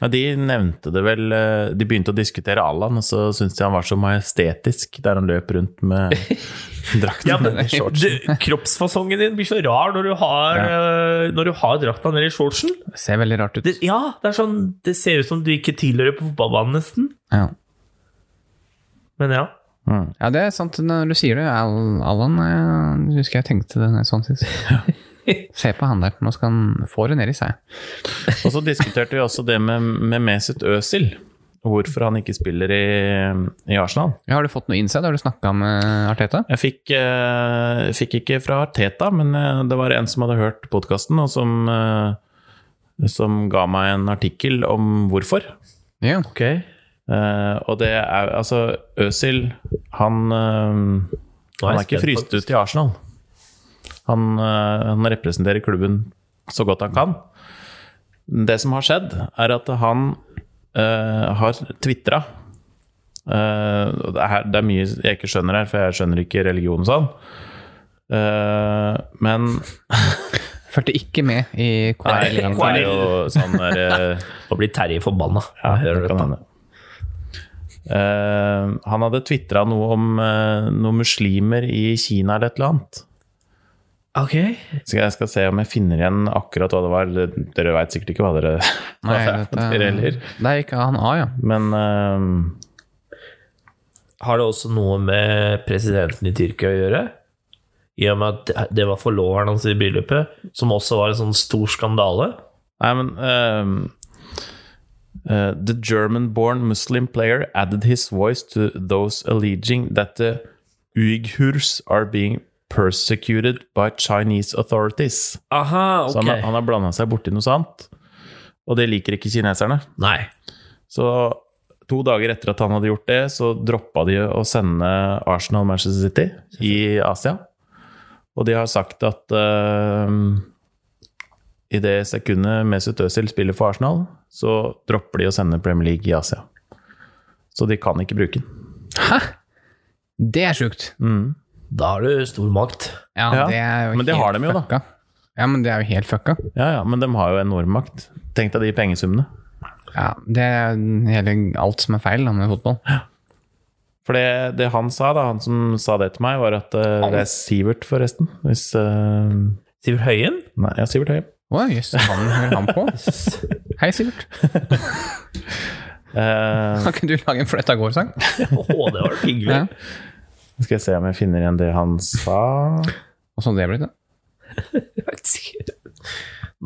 [SPEAKER 1] Ja, de nevnte det vel eh, De begynte å diskutere Allan, og så syntes de han var så majestetisk der han løp rundt med drakten.
[SPEAKER 3] men
[SPEAKER 1] eller shorts.
[SPEAKER 3] du, kroppsfasongen din blir så rar når du har, eh, når du har drakta ned i shortsen.
[SPEAKER 2] Det ser veldig rart ut.
[SPEAKER 3] Det, ja, det, er sånn, det ser ut som du ikke tilhører på fotballbanen, nesten.
[SPEAKER 2] Ja.
[SPEAKER 3] Men ja.
[SPEAKER 1] Mm.
[SPEAKER 2] ja, det er sant når du sier det. Al- Allan eh, husker jeg tenkte det når jeg sånn sist. Se på han der, nå skal han få det ned i seg.
[SPEAKER 1] Og så diskuterte vi også det med, med Mesut Özil. Hvorfor han ikke spiller i, i Arsenal.
[SPEAKER 2] Ja, har du fått noe inside? Har du snakka med Arteta?
[SPEAKER 1] Jeg fikk, eh, fikk ikke fra Teta, men eh, det var en som hadde hørt podkasten, og som, eh, som ga meg en artikkel om hvorfor.
[SPEAKER 2] Ja.
[SPEAKER 3] Ok.
[SPEAKER 1] Eh, og det er Altså, Øsil, han eh,
[SPEAKER 3] jeg
[SPEAKER 1] Han er ikke
[SPEAKER 3] spent,
[SPEAKER 1] fryst ut i Arsenal. Han, eh, han representerer klubben så godt han kan. Det som har skjedd, er at han eh, har tvitra. det, er- det er mye jeg ikke skjønner her, for jeg skjønner ikke religion og sånn. Eh, men
[SPEAKER 2] Fulgte ikke med i
[SPEAKER 1] Nei,
[SPEAKER 2] KRL.
[SPEAKER 1] han er jo sånn der, eh,
[SPEAKER 3] Nå blir Terje forbanna. Jeg hører
[SPEAKER 1] det kan
[SPEAKER 3] dette.
[SPEAKER 1] hende. Eh, han hadde tvitra noe om eh, noen muslimer i Kina eller et eller annet.
[SPEAKER 3] Ok.
[SPEAKER 1] Så jeg skal se om jeg finner igjen akkurat hva det var. Dere veit sikkert ikke hva dere
[SPEAKER 2] Nei,
[SPEAKER 1] hva det er, Altså, dere heller.
[SPEAKER 2] Der gikk han av, ja.
[SPEAKER 1] Men eh,
[SPEAKER 3] Har det også noe med presidenten i Tyrkia å gjøre? I og med at det var forloveren hans i bryllupet, som også var en sånn stor skandale.
[SPEAKER 1] Nei, men ehm, eh, The German-born Muslim player added his voice to those alleging that the Uyghurs are being persecuted by Chinese authorities.
[SPEAKER 3] Aha,
[SPEAKER 1] Så han, har- han har blanda seg borti noe sant, og det liker ikke kineserne.
[SPEAKER 3] Nei.
[SPEAKER 1] Så to dager etter at han hadde gjort det, så droppa de å sende Arsenal Manchester City i Asia. Og de har sagt at ehm, i det sekundet Mesut Özil spiller for Arsenal, så dropper de å sende Premier League i Asia. Så de kan ikke bruke den.
[SPEAKER 2] Hæ? Det er sjukt.
[SPEAKER 3] Da har du stor makt.
[SPEAKER 2] Ja,
[SPEAKER 1] Ja,
[SPEAKER 2] det er jo
[SPEAKER 1] men det
[SPEAKER 2] helt
[SPEAKER 1] har de jo, da.
[SPEAKER 2] fucka. Ja, men det er jo helt fucka.
[SPEAKER 1] Ja, ja, men de har jo enorm makt. Tenk deg de pengesummene.
[SPEAKER 2] Ja, det er hele, alt som er feil da, med fotball.
[SPEAKER 1] For det, det han sa, da, han som sa det til meg, var at eh, Det er Sivert, forresten. Hvis eh,
[SPEAKER 3] Sivert Høyen?
[SPEAKER 1] Nei, ja, Sivert Høie.
[SPEAKER 2] Å, jøss, han hører han på? Hei, Sivert.
[SPEAKER 1] Eh,
[SPEAKER 2] Kan ikke du lage en Fletta gård-sang?
[SPEAKER 3] Å, det var hyggelig.
[SPEAKER 2] Ja.
[SPEAKER 1] Skal jeg se om jeg finner igjen det han sa
[SPEAKER 2] Og sånn det er blitt, da.
[SPEAKER 3] Jeg vet ikke.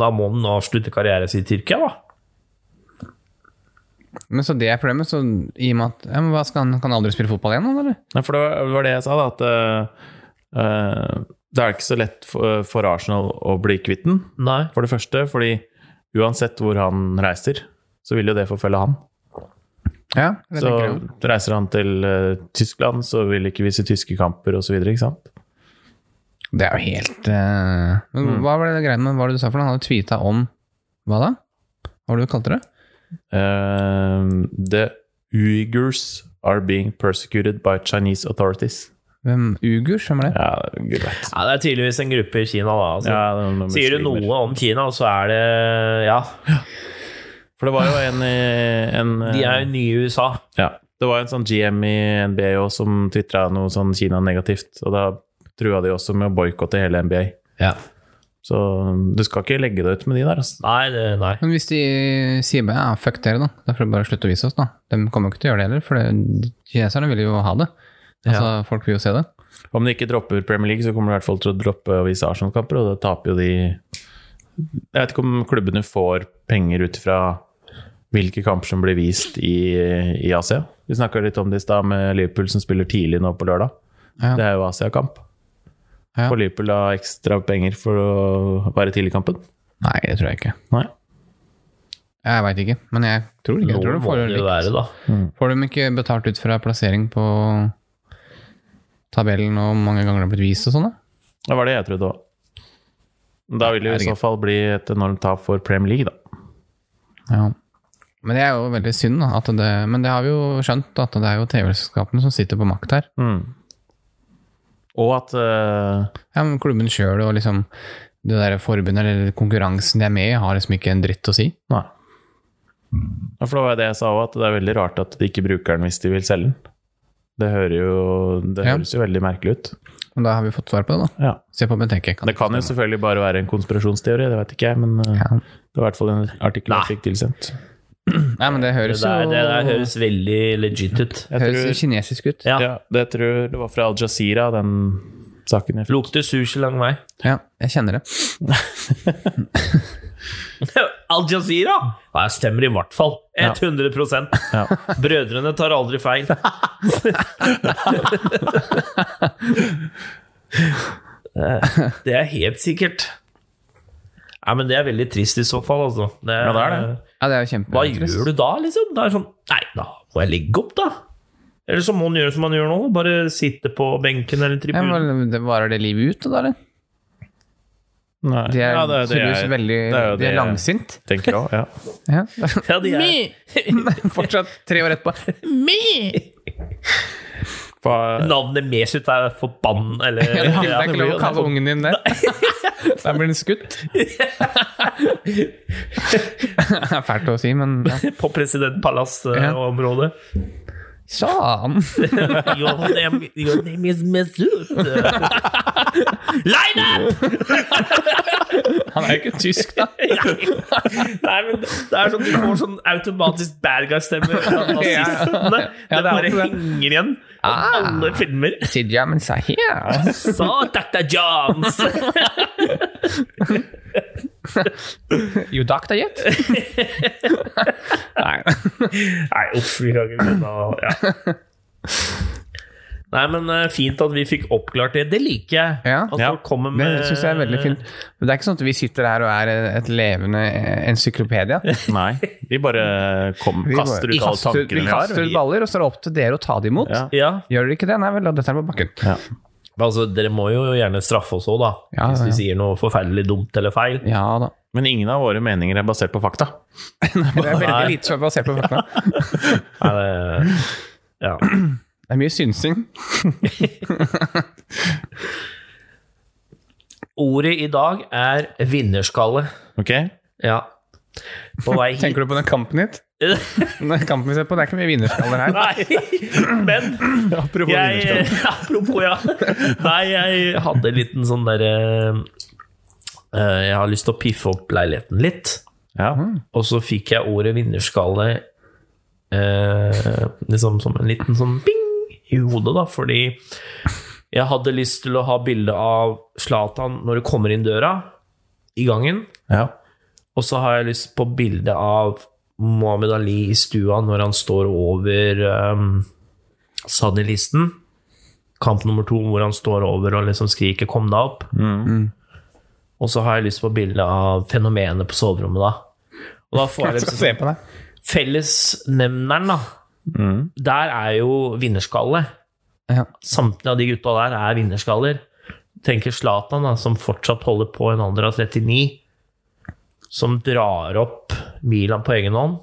[SPEAKER 3] Da må den avslutte karrieren sin i Tyrkia, da.
[SPEAKER 2] Men så det er problemet, så i og med at ja, men hva skal han, Kan han aldri spille fotball igjen, han, eller?
[SPEAKER 1] Nei, for det var, det var det jeg sa, da. At eh, eh, det er ikke så lett for, eh, for Arsenal å bli kvitt den.
[SPEAKER 3] Nei.
[SPEAKER 1] For det første, fordi uansett hvor han reiser, så vil jo det forfølge han.
[SPEAKER 2] Ja, det
[SPEAKER 1] Så
[SPEAKER 2] tenker jeg jo.
[SPEAKER 1] reiser han til eh, Tyskland, så vil ikke vi se tyske kamper osv. Ikke sant?
[SPEAKER 2] Det er jo helt eh, Men hva var det greia med hva var det du sa for noe? Han hadde tweeta om Hva da? Hva var det du kalte det?
[SPEAKER 1] Eh, the Uyghurs are being persecuted by Chinese authorities.
[SPEAKER 2] Hvem? Ugurs? Hvem er det?
[SPEAKER 1] Ja, gud vet.
[SPEAKER 3] Ja, det er tydeligvis en gruppe i Kina, da. Altså.
[SPEAKER 1] Ja, det er noen
[SPEAKER 3] Sier du
[SPEAKER 1] muslimer.
[SPEAKER 3] noe om Kina, så er det Ja,
[SPEAKER 1] For det var jo en, i- en
[SPEAKER 3] de
[SPEAKER 2] Eh.
[SPEAKER 3] er jo nye i USA.
[SPEAKER 1] Ja. Det var en sånn GM i NBA også som tvitra noe sånn Kina negativt. Og da trua de også med å boikotte hele NBA.
[SPEAKER 3] Ja.
[SPEAKER 1] Så um, du skal ikke legge deg ut med de der. Altså.
[SPEAKER 3] Nei, det, nei.
[SPEAKER 2] Men hvis de sier bare ja, fuck dere, da. Da får de bare slutte å vise oss, da. De kommer jo ikke til å gjøre det heller, for det, kineserne vil jo ha det. Altså, folk vil jo se det.
[SPEAKER 1] Om de ikke dropper Premier League, så kommer de i hvert fall til å droppe å vise Arsenal-kamper, og da taper jo de Jeg vet ikke om klubbene får penger ut fra hvilke kamper som blir vist i, i Asia. Vi snakka litt om det i stad, med Liverpool som spiller tidlig nå på lørdag.
[SPEAKER 2] Ja.
[SPEAKER 1] Det er jo Asia-kamp.
[SPEAKER 2] Ja.
[SPEAKER 1] Får Liverpool da ekstra penger for å være tidlig i kampen?
[SPEAKER 2] Nei, det tror jeg ikke.
[SPEAKER 1] Nei.
[SPEAKER 2] Jeg veit ikke, men jeg tror ikke. Jeg tror
[SPEAKER 3] Noe
[SPEAKER 2] de
[SPEAKER 3] må
[SPEAKER 2] får,
[SPEAKER 3] det jo være,
[SPEAKER 2] likt.
[SPEAKER 3] da.
[SPEAKER 2] får de ikke betalt ut fra plassering på tabellen og hvor mange ganger det har blitt vist og sånn, da?
[SPEAKER 1] Det var det jeg trodde òg. Da vil det jo i så fall bli et enormt tap for Premier League, da.
[SPEAKER 2] Ja. Men det er jo veldig synd, da. At det, men det har vi jo skjønt, at det er jo TV-selskapene som sitter på makt her.
[SPEAKER 1] Mm. Og at eh,
[SPEAKER 2] Ja, men klubben sjøl og liksom det der forbundet eller konkurransen de er med i, har liksom ikke en dritt å si.
[SPEAKER 1] Nei. Ja, For det var jo det jeg sa òg, at det er veldig rart at de ikke bruker den hvis de vil selge den. Det, hører jo, det
[SPEAKER 2] Ja.
[SPEAKER 1] høres jo veldig merkelig ut.
[SPEAKER 2] Og da har vi fått svar på det, da.
[SPEAKER 1] Ja.
[SPEAKER 2] Se på Benteke.
[SPEAKER 1] Det kan jo selvfølgelig bare være en konspirasjonsteori, det vet ikke jeg, men eh,
[SPEAKER 2] Ja.
[SPEAKER 1] det var i hvert fall en artikkel
[SPEAKER 3] Nei.
[SPEAKER 1] jeg fikk tilsendt.
[SPEAKER 2] Nei, men det
[SPEAKER 3] Det
[SPEAKER 2] høres
[SPEAKER 3] der, det der
[SPEAKER 2] jo
[SPEAKER 3] høres veldig legit ut.
[SPEAKER 1] Jeg
[SPEAKER 2] høres
[SPEAKER 1] tror,
[SPEAKER 2] kinesisk ut.
[SPEAKER 3] Ja.
[SPEAKER 1] ja, det tror det var fra Al Jazeera, den saken jeg fikk.
[SPEAKER 3] Lukter sushi lang vei.
[SPEAKER 2] Ja, jeg kjenner det.
[SPEAKER 3] Al Jazeera! Nei, jeg stemmer i hvert fall. 100
[SPEAKER 1] Ja.
[SPEAKER 3] Brødrene tar aldri feil. det er helt sikkert. Nei, men Det er veldig trist i så fall, altså. Det,
[SPEAKER 1] Ja, det er det.
[SPEAKER 2] Ja, det er jo
[SPEAKER 3] Hva
[SPEAKER 2] kjempeinteressant.
[SPEAKER 3] gjør du da, liksom? Da er det sånn Nei, da må jeg legge opp, da. Eller så må han gjøre som han gjør nå. Bare sitte på benken eller
[SPEAKER 2] Ja,
[SPEAKER 3] tribunen.
[SPEAKER 2] men det Varer det livet ut, da, eller?
[SPEAKER 1] Nei.
[SPEAKER 2] De er
[SPEAKER 1] ja, det er det
[SPEAKER 2] tydeligvis
[SPEAKER 1] jeg
[SPEAKER 2] veldig
[SPEAKER 1] det er jo
[SPEAKER 2] De
[SPEAKER 1] det
[SPEAKER 2] er
[SPEAKER 1] jeg-
[SPEAKER 2] langsint.
[SPEAKER 1] tenker òg. Ja.
[SPEAKER 2] Ja.
[SPEAKER 3] Ja, de er
[SPEAKER 2] Fortsatt tre år etterpå.
[SPEAKER 1] Hva-
[SPEAKER 3] Navnet Mesut er forbann, eller
[SPEAKER 2] Ja, det er ikke lov å
[SPEAKER 3] det
[SPEAKER 2] kalle ungen din det. Da blir den skutt. Det er fælt å si, men ja.
[SPEAKER 3] på eh, President
[SPEAKER 2] Ja.
[SPEAKER 3] Palace-området.
[SPEAKER 2] Sånn!
[SPEAKER 3] Your, name- your name is Mesut. Line up!
[SPEAKER 2] Han er jo ikke tysk, da.
[SPEAKER 3] Nei, men det er sånn, du får sånn automatisk bad guy-stemme fra
[SPEAKER 2] Ja.
[SPEAKER 3] nazistene.
[SPEAKER 2] Ja,
[SPEAKER 3] Det
[SPEAKER 2] det er
[SPEAKER 3] bare
[SPEAKER 2] alltid det.
[SPEAKER 3] henger igjen i
[SPEAKER 2] Ah.
[SPEAKER 3] alle filmer.
[SPEAKER 2] Sidja, men sa her.
[SPEAKER 3] Så, Dr. Jones!
[SPEAKER 2] Jo, dakta gjett. Nei.
[SPEAKER 3] Nei, uff, vi kan ikke begynne å- ja. Nei, men eh, fint at vi fikk oppklart det. Det liker jeg.
[SPEAKER 2] Ja.
[SPEAKER 3] At
[SPEAKER 1] Ja.
[SPEAKER 3] folk kommer
[SPEAKER 2] Det
[SPEAKER 3] med
[SPEAKER 2] syns jeg er veldig fint. Men det er ikke sånn at vi sitter her og er et levende encyklopedia.
[SPEAKER 1] Nei, vi bare kom,
[SPEAKER 2] Vi
[SPEAKER 1] kaster
[SPEAKER 2] bare-
[SPEAKER 1] ut alle
[SPEAKER 2] kaster-
[SPEAKER 1] tankene
[SPEAKER 2] vi
[SPEAKER 1] vi
[SPEAKER 2] kaster ut
[SPEAKER 1] har.
[SPEAKER 2] baller, og så er det opp til dere å ta det imot.
[SPEAKER 1] Ja.
[SPEAKER 3] Ja.
[SPEAKER 2] Gjør dere ikke det? Nei vel, da detter den på bakken.
[SPEAKER 1] Ja.
[SPEAKER 3] Men Altså, dere må jo gjerne straffe oss òg, da.
[SPEAKER 2] Ja,
[SPEAKER 3] hvis vi
[SPEAKER 2] ja.
[SPEAKER 3] sier noe forferdelig dumt eller feil.
[SPEAKER 2] Ja da.
[SPEAKER 1] Men ingen av våre meninger er basert på fakta.
[SPEAKER 2] Det er
[SPEAKER 3] Nei.
[SPEAKER 2] veldig lite som er basert på fakta.
[SPEAKER 3] Nei, det, ja.
[SPEAKER 2] Det er mye synsing.
[SPEAKER 3] Ordet i dag er vinnerskalle.
[SPEAKER 1] Ok?
[SPEAKER 3] Ja. På vei hit
[SPEAKER 2] Tenker du på den kampen hit? Den kampen vi ser på, det er ikke mye vinnerskaller her.
[SPEAKER 3] Nei, men
[SPEAKER 1] Apropos
[SPEAKER 3] jeg, Apropos, ja. Nei, jeg hadde en liten sånn derre Jeg har lyst til å piffe opp leiligheten litt.
[SPEAKER 1] Ja.
[SPEAKER 2] Mhm.
[SPEAKER 3] Og så fikk jeg ordet vinnerskalle eh, liksom som en liten sånn bing i hodet, da, fordi jeg hadde lyst til å ha bilde av Zlatan når du kommer inn døra i gangen,
[SPEAKER 1] ja.
[SPEAKER 3] og så har jeg lyst på bilde av Mohammed Ali i stua når han står over um, Sunny-listen. Kamp nummer to, hvor han står over og liksom skriker 'kom deg opp'.
[SPEAKER 2] Mm.
[SPEAKER 3] Og så har jeg lyst på bilde av fenomenet på soverommet, da. Og da får jeg
[SPEAKER 2] Jeg
[SPEAKER 3] liksom
[SPEAKER 2] skal se på deg.
[SPEAKER 3] Fellesnevneren, da.
[SPEAKER 2] Mm.
[SPEAKER 3] Der er jo vinnerskalle.
[SPEAKER 2] Ja.
[SPEAKER 3] Samtlige av de gutta der er vinnerskaller. Tenker Zlatan, da, som fortsatt holder på en alder av 39, som drar opp Milan på egen hånd.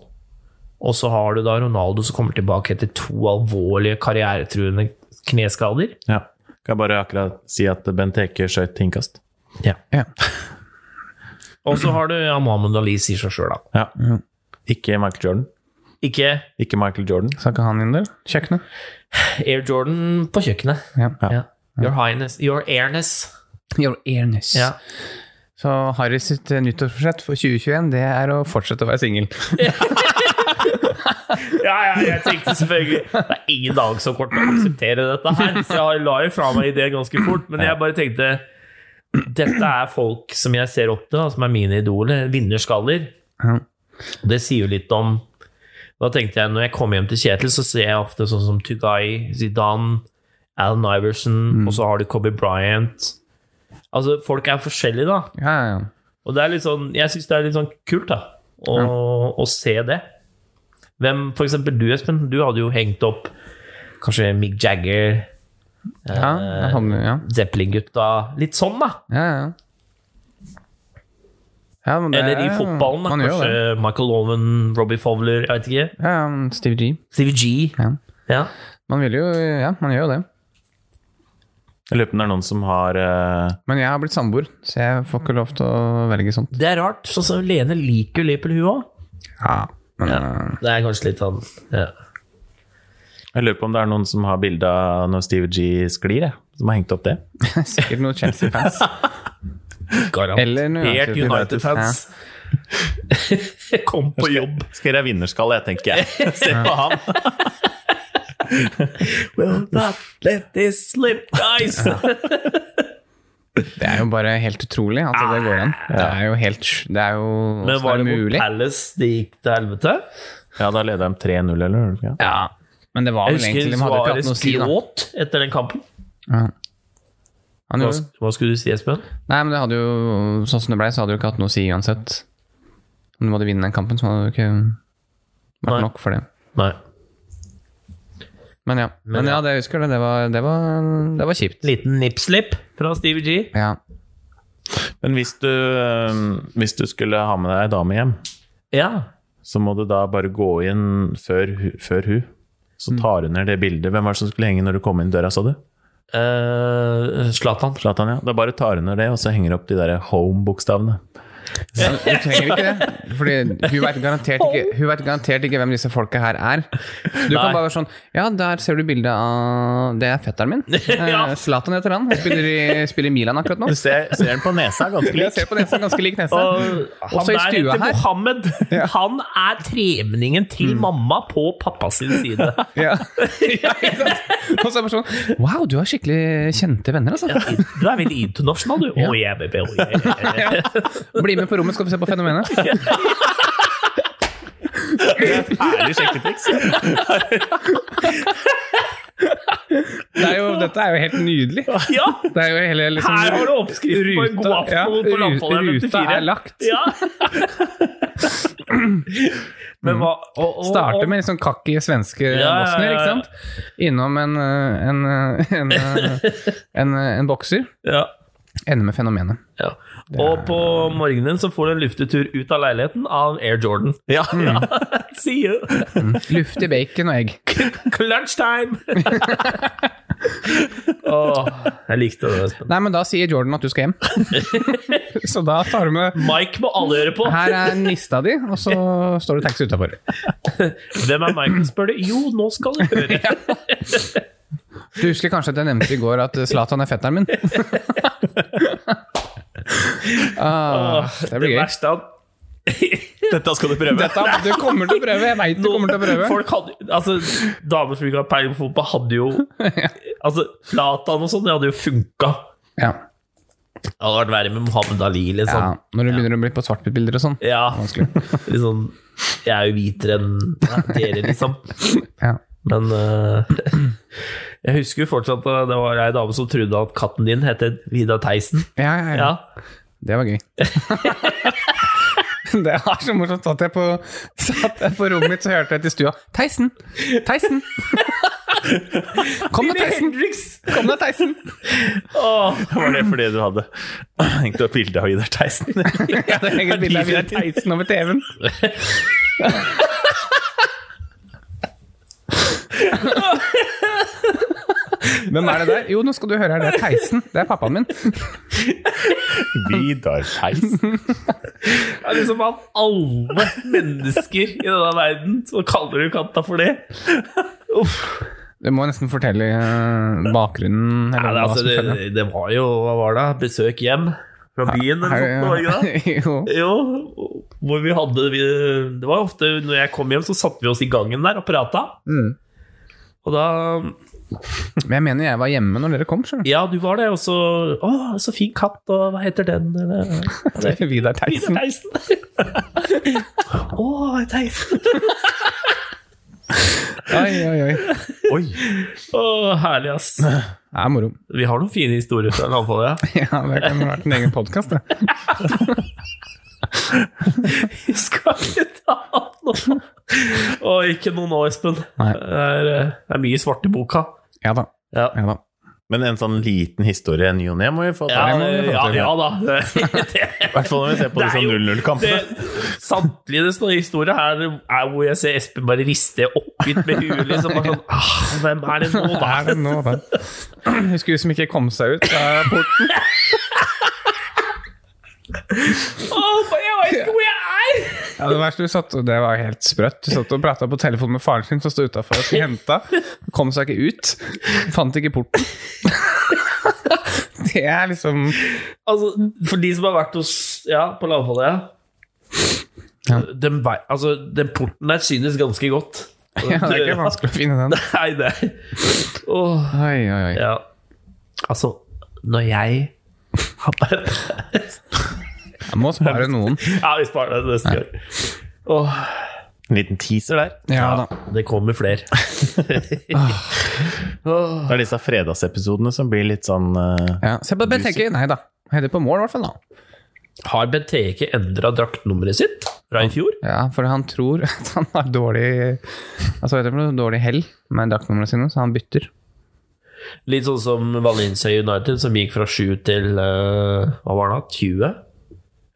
[SPEAKER 3] Og så har du da Ronaldo som kommer tilbake etter to alvorlige karrieretruende kneskader.
[SPEAKER 1] ja. Kan jeg bare akkurat si at Bent Eke skøyt til innkast?
[SPEAKER 2] Ja.
[SPEAKER 3] Og så har du ja, Mohammed Ali, sier seg sjøl, da.
[SPEAKER 1] Ja. Ikke Michael Jordan.
[SPEAKER 3] Ikke
[SPEAKER 1] Ikke Michael Jordan.
[SPEAKER 2] Skal ikke han inn der? Kjøkkenet?
[SPEAKER 3] Air Jordan på kjøkkenet.
[SPEAKER 2] Ja.
[SPEAKER 1] Ja.
[SPEAKER 3] Ja. Your Highness. Your Airness.
[SPEAKER 2] Your earnest.
[SPEAKER 3] Ja.
[SPEAKER 2] Så Harry sitt eh, nyttårsforsett for 2021, det er å fortsette å være singel.
[SPEAKER 3] Ja, ja, jeg tenkte selvfølgelig Det er ingen dag så kort å akseptere dette her, så jeg la jo fra meg ideen ganske fort. Men jeg bare tenkte Dette er folk som jeg ser opp til, da, som er mine idoler. Vinnerskaller.
[SPEAKER 2] Ja.
[SPEAKER 3] Det sier jo litt om Da tenkte jeg, når jeg kommer hjem til Kjetil, så ser jeg ofte sånn som Tugay, Zidane, Alan Iverson, og så har du Kobe Bryant. Altså, folk er forskjellige, da.
[SPEAKER 2] Ja, ja, ja.
[SPEAKER 3] Og det er litt sånn, jeg syns det er litt sånn kult da, å, å se det. Hvem, for eksempel du, Espen, du hadde jo hengt opp kanskje Mick Jagger,
[SPEAKER 2] Ja,
[SPEAKER 3] Eh.
[SPEAKER 2] da hadde vi- ja.
[SPEAKER 3] Zeppelin-gutta Litt sånn, da.
[SPEAKER 2] ja, ja. Ja, men det
[SPEAKER 3] Eller i
[SPEAKER 2] er-
[SPEAKER 3] fotballen. Da.
[SPEAKER 2] Man gjør jo
[SPEAKER 3] Kanskje
[SPEAKER 2] det.
[SPEAKER 3] Michael Owen, Robbie Fowler, jeg vet ikke.
[SPEAKER 2] Ja, ja, Steve G.
[SPEAKER 3] Stevie G.
[SPEAKER 2] Ja.
[SPEAKER 3] Ja.
[SPEAKER 2] Man vil jo Ja, man gjør jo det.
[SPEAKER 1] Jeg lurer på om det er noen som har eh,
[SPEAKER 2] Men jeg har blitt samboer, så jeg får ikke lov til å velge sånt.
[SPEAKER 3] Det er rart. Sånn som Lene liker jo Liverpool, hun òg.
[SPEAKER 2] Ja, men eh,
[SPEAKER 3] Det er kanskje litt sånn ja.
[SPEAKER 1] Jeg lurer på om det er noen som har bilde av når Steve G sklir, jeg. Som har hengt opp det.
[SPEAKER 2] sikkert noen Chelsea-fans. Eller noe
[SPEAKER 3] Helt
[SPEAKER 2] annet.
[SPEAKER 3] United-fans. Kom på jobb.
[SPEAKER 1] Skal jeg vinnerskalle, jeg, tenker jeg. Se på han.
[SPEAKER 3] Will not let this slip, guys!
[SPEAKER 2] Det er jo bare helt utrolig at det går an. Det er jo helt Det er jo
[SPEAKER 3] Men
[SPEAKER 2] hvordan
[SPEAKER 3] var
[SPEAKER 2] er
[SPEAKER 3] det mot
[SPEAKER 2] mulig.
[SPEAKER 3] Palace det gikk til helvete?
[SPEAKER 1] Ja, da leda de 3-0, eller? gjorde de ikke det?
[SPEAKER 2] Ja. Men det var
[SPEAKER 3] Jeg
[SPEAKER 2] vel egentlig
[SPEAKER 3] husker
[SPEAKER 2] De hadde jo ikke hatt
[SPEAKER 3] Suárez
[SPEAKER 2] noe å si, da.
[SPEAKER 3] gråt etter den kampen.
[SPEAKER 2] Ja. Han
[SPEAKER 3] Hva,
[SPEAKER 2] gjorde,
[SPEAKER 3] hva skulle du si, Espen?
[SPEAKER 2] nei, men det hadde jo Sånn som det ble, så hadde det jo ikke hatt noe å si uansett. Om du hadde vunnet den kampen, så hadde det jo ikke
[SPEAKER 3] Nei.
[SPEAKER 2] vært nok for det.
[SPEAKER 3] Nei.
[SPEAKER 2] Men ja, men ja det jeg husker det. Det var, det var, det var kjipt.
[SPEAKER 3] Liten nipslip fra Stevie G.
[SPEAKER 2] Ja.
[SPEAKER 1] Men hvis du, eh, hvis du skulle ha med deg ei dame hjem,
[SPEAKER 3] Ja.
[SPEAKER 1] så må du da bare gå inn før, hu- før hun. Så tar hun ned det bildet. Hvem var det som skulle henge når du kom inn døra, sa du?
[SPEAKER 3] Eh, Zlatan.
[SPEAKER 1] Zlatan, ja. Da bare tar hun ned det, og så henger du opp de der home-bokstavene.
[SPEAKER 2] Ja, du trenger ikke det. Fordi hun vet garantert ikke, hun vet garantert ikke hvem disse folka her er. Så du kan bare være sånn Ja, der ser du bildet av Det er fetteren min. Eh, Zlatan heter han. Han spiller i, spiller i Milan akkurat nå.
[SPEAKER 1] Du ser, ser den på nesa, ganske
[SPEAKER 2] Jeg
[SPEAKER 1] lik.
[SPEAKER 2] ser på nesa, ganske lik nese.
[SPEAKER 3] Og han
[SPEAKER 2] Også i
[SPEAKER 3] der
[SPEAKER 2] stua
[SPEAKER 3] heter
[SPEAKER 2] her. Mm.
[SPEAKER 3] Mohammed. Han er tremenningen til mamma på pappas side.
[SPEAKER 2] Ja. Ja, ikke sant? Og så er det bare sånn Wow, du har skikkelig kjente venner, altså.
[SPEAKER 3] Du er veldig internasjonal, du. Oh, yeah, baby, oh, yeah.
[SPEAKER 2] Bli med på rommet, skal vi se på fenomenet.
[SPEAKER 1] Herlig sjekketriks.
[SPEAKER 2] Det er jo, dette er jo helt nydelig.
[SPEAKER 3] ja.
[SPEAKER 2] Det er jo hele liksom,
[SPEAKER 3] Her har du oppskriften på en god aften på
[SPEAKER 2] ru-
[SPEAKER 3] Landfalleren 54.
[SPEAKER 2] Ruta er lagt.
[SPEAKER 3] Ja. Men hva og, og,
[SPEAKER 2] Starter med litt sånn kakki svenske
[SPEAKER 3] ja, ja,
[SPEAKER 2] bosnier, ikke
[SPEAKER 3] ja.
[SPEAKER 2] sant? Innom en, eh, en, eh, en, eh, en, eh, en bokser.
[SPEAKER 3] ja.
[SPEAKER 2] Ender med fenomenet.
[SPEAKER 3] Ja. Og på morgenen så får du en luftetur ut av leiligheten av Air Jordan.
[SPEAKER 1] Ja, ja.
[SPEAKER 3] See you!
[SPEAKER 2] Mm. Luftig bacon og egg.
[SPEAKER 3] Clutch time! Åh, jeg likte det. Espen.
[SPEAKER 2] Nei, men da sier Jordan at du skal hjem. Så da tar du med
[SPEAKER 3] Mike må alle høre på.
[SPEAKER 2] Her er nista di, og så står det taxi utafor.
[SPEAKER 3] Hvem er Mike? spør du. Jo, nå skal du høre.
[SPEAKER 2] Du husker kanskje at jeg nevnte i går at Zlatan er fetteren min? ah, det blir gøy.
[SPEAKER 3] verste er at
[SPEAKER 1] Dette skal du prøve.
[SPEAKER 2] Dette, du kommer til å prøve, jeg veit du kommer til å prøve.
[SPEAKER 3] Folk hadde, altså, damer som ikke har peiling på fotball, hadde jo Altså, Zlatan og sånn, det hadde jo funka.
[SPEAKER 2] Ja,
[SPEAKER 3] Det hadde vært verre med Mohammed Ali,
[SPEAKER 2] ja,
[SPEAKER 3] liksom.
[SPEAKER 2] Når du begynner å bli på svart-hvitt-bilder og sånn.
[SPEAKER 3] Ja.
[SPEAKER 2] Vanskelig.
[SPEAKER 3] Litt sånn Jeg er jo hvitere enn ja, dere, liksom.
[SPEAKER 2] Ja.
[SPEAKER 3] Men eh, jeg husker jo fortsatt at det var ei dame som trodde at katten din het Vidar Theisen.
[SPEAKER 2] Ja, ja, ja.
[SPEAKER 3] Ja.
[SPEAKER 2] Det var gøy. Det var så morsomt. Satt jeg på, satt jeg på rommet mitt, så hørte jeg til stua Theisen! Theisen! Kom da, Theisen!
[SPEAKER 3] Hendrix!
[SPEAKER 2] Kom da, Theisen!
[SPEAKER 3] Åh,
[SPEAKER 1] Var det fordi du hadde hengt opp bilde av Idar Theisen?
[SPEAKER 2] Ja, det henger et bilde av Vidar Theisen over TV-en. Hvem er det der? Jo, nå skal du høre her, det er Theisen. Det er pappaen min.
[SPEAKER 1] Vidar Theisen.
[SPEAKER 3] det er liksom av alle mennesker i denne verden, så kaller du katta for det. Uff.
[SPEAKER 2] Du må nesten fortelle eh, bakgrunnen.
[SPEAKER 3] Ja, det,
[SPEAKER 2] hva
[SPEAKER 3] altså,
[SPEAKER 2] som skjedde.
[SPEAKER 3] det, det var jo Hva var det? Besøk hjem fra byen? Eller noe sånt, var det ikke det?
[SPEAKER 2] eh, jo.
[SPEAKER 3] Jo, hvor vi hadde vi, Det var ofte når jeg kom hjem, så satte vi oss i gangen der og prata.
[SPEAKER 2] Mm.
[SPEAKER 3] Og da
[SPEAKER 2] Men jeg mener jeg var hjemme når dere kom, skjønner
[SPEAKER 3] Ja, du var det, og så Å, så fin katt, og hva heter den? Eller,
[SPEAKER 2] du. Vidar
[SPEAKER 3] Vidar
[SPEAKER 2] Theisen.
[SPEAKER 3] Theisen. Å, Theisen.
[SPEAKER 2] Oi, oi, oi.
[SPEAKER 1] Oi,
[SPEAKER 3] Å, herlig, ass.
[SPEAKER 2] Det er moro.
[SPEAKER 3] Vi har noen fine historier fra landfallet. Ja.
[SPEAKER 2] Ja, det kan ha vært en egen podkast, det.
[SPEAKER 3] Vi skal ikke ta opp noe. Å, ikke noen nå, Espen.
[SPEAKER 2] Nei.
[SPEAKER 3] Det er, eh, det er mye svart i boka.
[SPEAKER 2] Ja da.
[SPEAKER 3] Ja.
[SPEAKER 2] Ja, da.
[SPEAKER 1] Men en sånn liten historie i ny og ne må vi få ta.
[SPEAKER 2] det
[SPEAKER 3] Ja,
[SPEAKER 2] må vi få
[SPEAKER 3] ja,
[SPEAKER 2] til.
[SPEAKER 3] ja da. Det,
[SPEAKER 1] I hvert fall når vi ser på
[SPEAKER 3] Det er
[SPEAKER 1] disse
[SPEAKER 3] jo-
[SPEAKER 1] 0-0-kampene.
[SPEAKER 3] det, samtlige det står i historien her er hvor jeg ser Espen bare riste oppgitt med huet. Liksom, bare sånn, ah, hvem er det nå, da?
[SPEAKER 2] Er det nå, da? Husker du som ikke kom seg ut fra porten?
[SPEAKER 3] Åh, jeg vet ikke hvor jeg er!
[SPEAKER 2] Ja, det verste du satt, og det var helt sprøtt. Du satt og prata på telefon med faren sin som sto utafor og skulle hente. Kom seg ikke ut. Fant ikke porten. Det er liksom
[SPEAKER 3] Altså, for de som har vært hos Ja, på lavfallet, ja.
[SPEAKER 2] Ja.
[SPEAKER 3] Den, vei- altså, den porten der synes ganske godt.
[SPEAKER 2] Ja, det er ikke vanskelig å finne den.
[SPEAKER 3] Nei, det er Åh,
[SPEAKER 2] Oi, oi, oi.
[SPEAKER 3] Ja. Altså, når jeg har
[SPEAKER 2] Jeg må spare noen.
[SPEAKER 3] Ja, vi sparer det neste gang. Åh,
[SPEAKER 1] En liten teaser der.
[SPEAKER 2] Ja da.
[SPEAKER 3] det kommer flere. Åh.
[SPEAKER 1] Det er disse fredagsepisodene som blir litt sånn eh,
[SPEAKER 2] Ja, se på Benteke. Nei da. Heller på mål, i hvert fall. da.
[SPEAKER 3] Har Benteke endra draktnummeret sitt fra i fjor?
[SPEAKER 2] Ja, for han tror at han har dårlig Altså, vet du, dårlig hell med draktnumrene sine, så han bytter.
[SPEAKER 3] Litt sånn som Valencia United, som gikk fra 7 til eh, Hva var det, da? 20?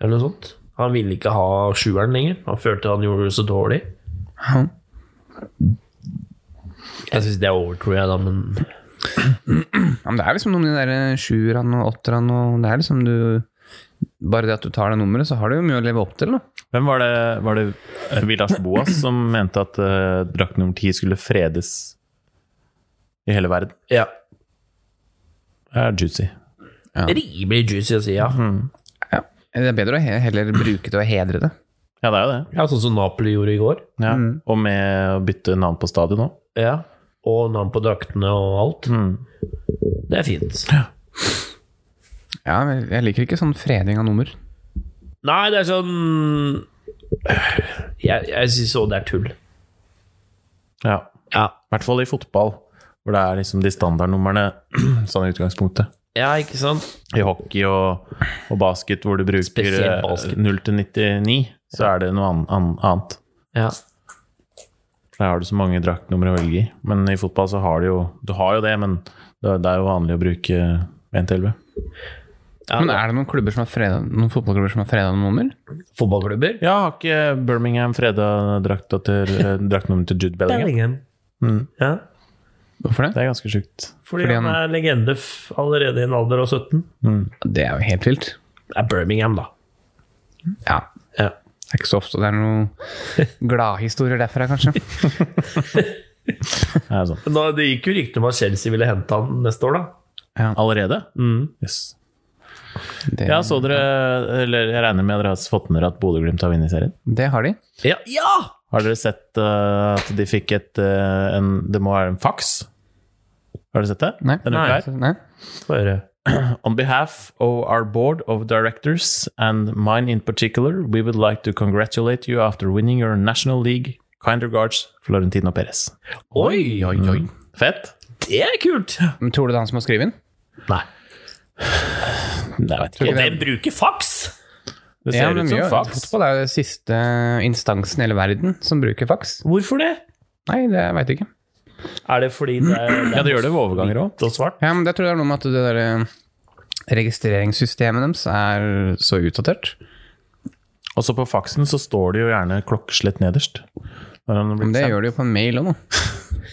[SPEAKER 3] Eller noe sånt. Han ville ikke ha sjueren lenger. Han følte han gjorde det så dårlig.
[SPEAKER 2] Ja.
[SPEAKER 3] Jeg syns det er over, tror jeg, da, men
[SPEAKER 2] Ja, men det er liksom noen av de der sjuerne og åtterne og Det er liksom du Bare det at du tar det nummeret, så har du jo mye å leve opp til, da.
[SPEAKER 1] Hvem var det, var det eh, Vilas Boas som mente at uh, drakt nummer ti skulle fredes i hele verden?
[SPEAKER 3] ja.
[SPEAKER 1] Det er juicy.
[SPEAKER 3] Rimelig juicy å si, ja.
[SPEAKER 2] Ja. Det er bedre å he heller bruke det og hedre det.
[SPEAKER 1] Ja, det er jo det.
[SPEAKER 3] ja. Sånn som Napoli gjorde i går.
[SPEAKER 1] Ja. Og med å bytte navn på stadion òg.
[SPEAKER 3] Ja. Og navn på draktene og alt. Det er fint.
[SPEAKER 2] Ja, men jeg liker ikke sånn freding av nummer.
[SPEAKER 3] Nei, det er sånn Jeg, jeg syns òg det er tull.
[SPEAKER 1] Ja.
[SPEAKER 3] Ja.
[SPEAKER 1] I hvert fall i fotball, hvor det er liksom de standardnumrene sånn i utgangspunktet.
[SPEAKER 3] ja, ikke sant?
[SPEAKER 1] I hockey og, og basket, hvor du bruker
[SPEAKER 3] Spesielt
[SPEAKER 1] eh,
[SPEAKER 3] basket.
[SPEAKER 1] 0 til 99, så er det noe an an annet.
[SPEAKER 3] Ja.
[SPEAKER 1] Der har du så mange draktnumre å velge i. Men i fotball så har du jo Du har jo det, men det det er jo vanlig å bruke 1 til 11.
[SPEAKER 2] Men er det noen, klubber som har freda, noen fotballklubber som har freda noen nummer?
[SPEAKER 3] Fotballklubber?
[SPEAKER 1] Ja, har ikke Birmingham freda drakta til eh, draktnummeret til Jude Bellingham?
[SPEAKER 3] Bellingham. Ja.
[SPEAKER 2] Hvorfor det?
[SPEAKER 1] Det er ganske sjukt.
[SPEAKER 3] Fordi,
[SPEAKER 2] Fordi
[SPEAKER 3] han
[SPEAKER 2] han-
[SPEAKER 3] er legende f allerede i en alder av 17.
[SPEAKER 2] Det er jo helt vilt.
[SPEAKER 3] Det er Birmingham, da.
[SPEAKER 2] Ja.
[SPEAKER 3] Ja.
[SPEAKER 2] Det er ikke så ofte det er noen gladhistorier derfra, kanskje.
[SPEAKER 1] Det er sånn.
[SPEAKER 3] Nå, det gikk jo rykter om at Chelsea ville hente han neste år, da.
[SPEAKER 1] Allerede?
[SPEAKER 3] Mm.
[SPEAKER 1] Yes.
[SPEAKER 2] Det,
[SPEAKER 1] Ja, så dere Eller jeg regner med dere har fått med dere at Bodø-Glimt har vunnet serien?
[SPEAKER 2] det har de.
[SPEAKER 3] Ja! ja!
[SPEAKER 1] Har dere sett eh, at de fikk et eh, en, Det må være en faks? Har dere sett det?
[SPEAKER 2] Nei.
[SPEAKER 1] Denne uka her?
[SPEAKER 2] Nei.
[SPEAKER 3] Få høre.
[SPEAKER 1] On behalf of our board of directors and mine in particular, we would like to congratulate you after winning your National League. Kind regards, Florentino Perez.
[SPEAKER 3] Oi, oi, oi.
[SPEAKER 1] Fett?
[SPEAKER 3] Mm. Det er kult!
[SPEAKER 2] Men tror du det er han som har skrevet den?
[SPEAKER 3] Nei.
[SPEAKER 1] Nei, jeg vet
[SPEAKER 3] Og
[SPEAKER 1] ikke.
[SPEAKER 3] den bruker faks!
[SPEAKER 1] Det ser
[SPEAKER 2] men
[SPEAKER 1] ut
[SPEAKER 2] mye-
[SPEAKER 1] som faks.
[SPEAKER 2] Fotball er jo den siste instansen i hele verden som bruker faks.
[SPEAKER 3] Hvorfor det?
[SPEAKER 2] Nei, det veit jeg ikke.
[SPEAKER 3] Er det fordi det er,
[SPEAKER 1] Ja, det gjør det ved overganger òg.
[SPEAKER 3] hvitt og svart?
[SPEAKER 2] Ja, men det tror jeg er noe med at det der eh, registreringssystemet deres er så utdatert.
[SPEAKER 1] Også på faksen så står det jo gjerne klokkeslett nederst. Når han blir
[SPEAKER 2] Men det
[SPEAKER 1] sendt.
[SPEAKER 2] gjør det jo på mail òg nå.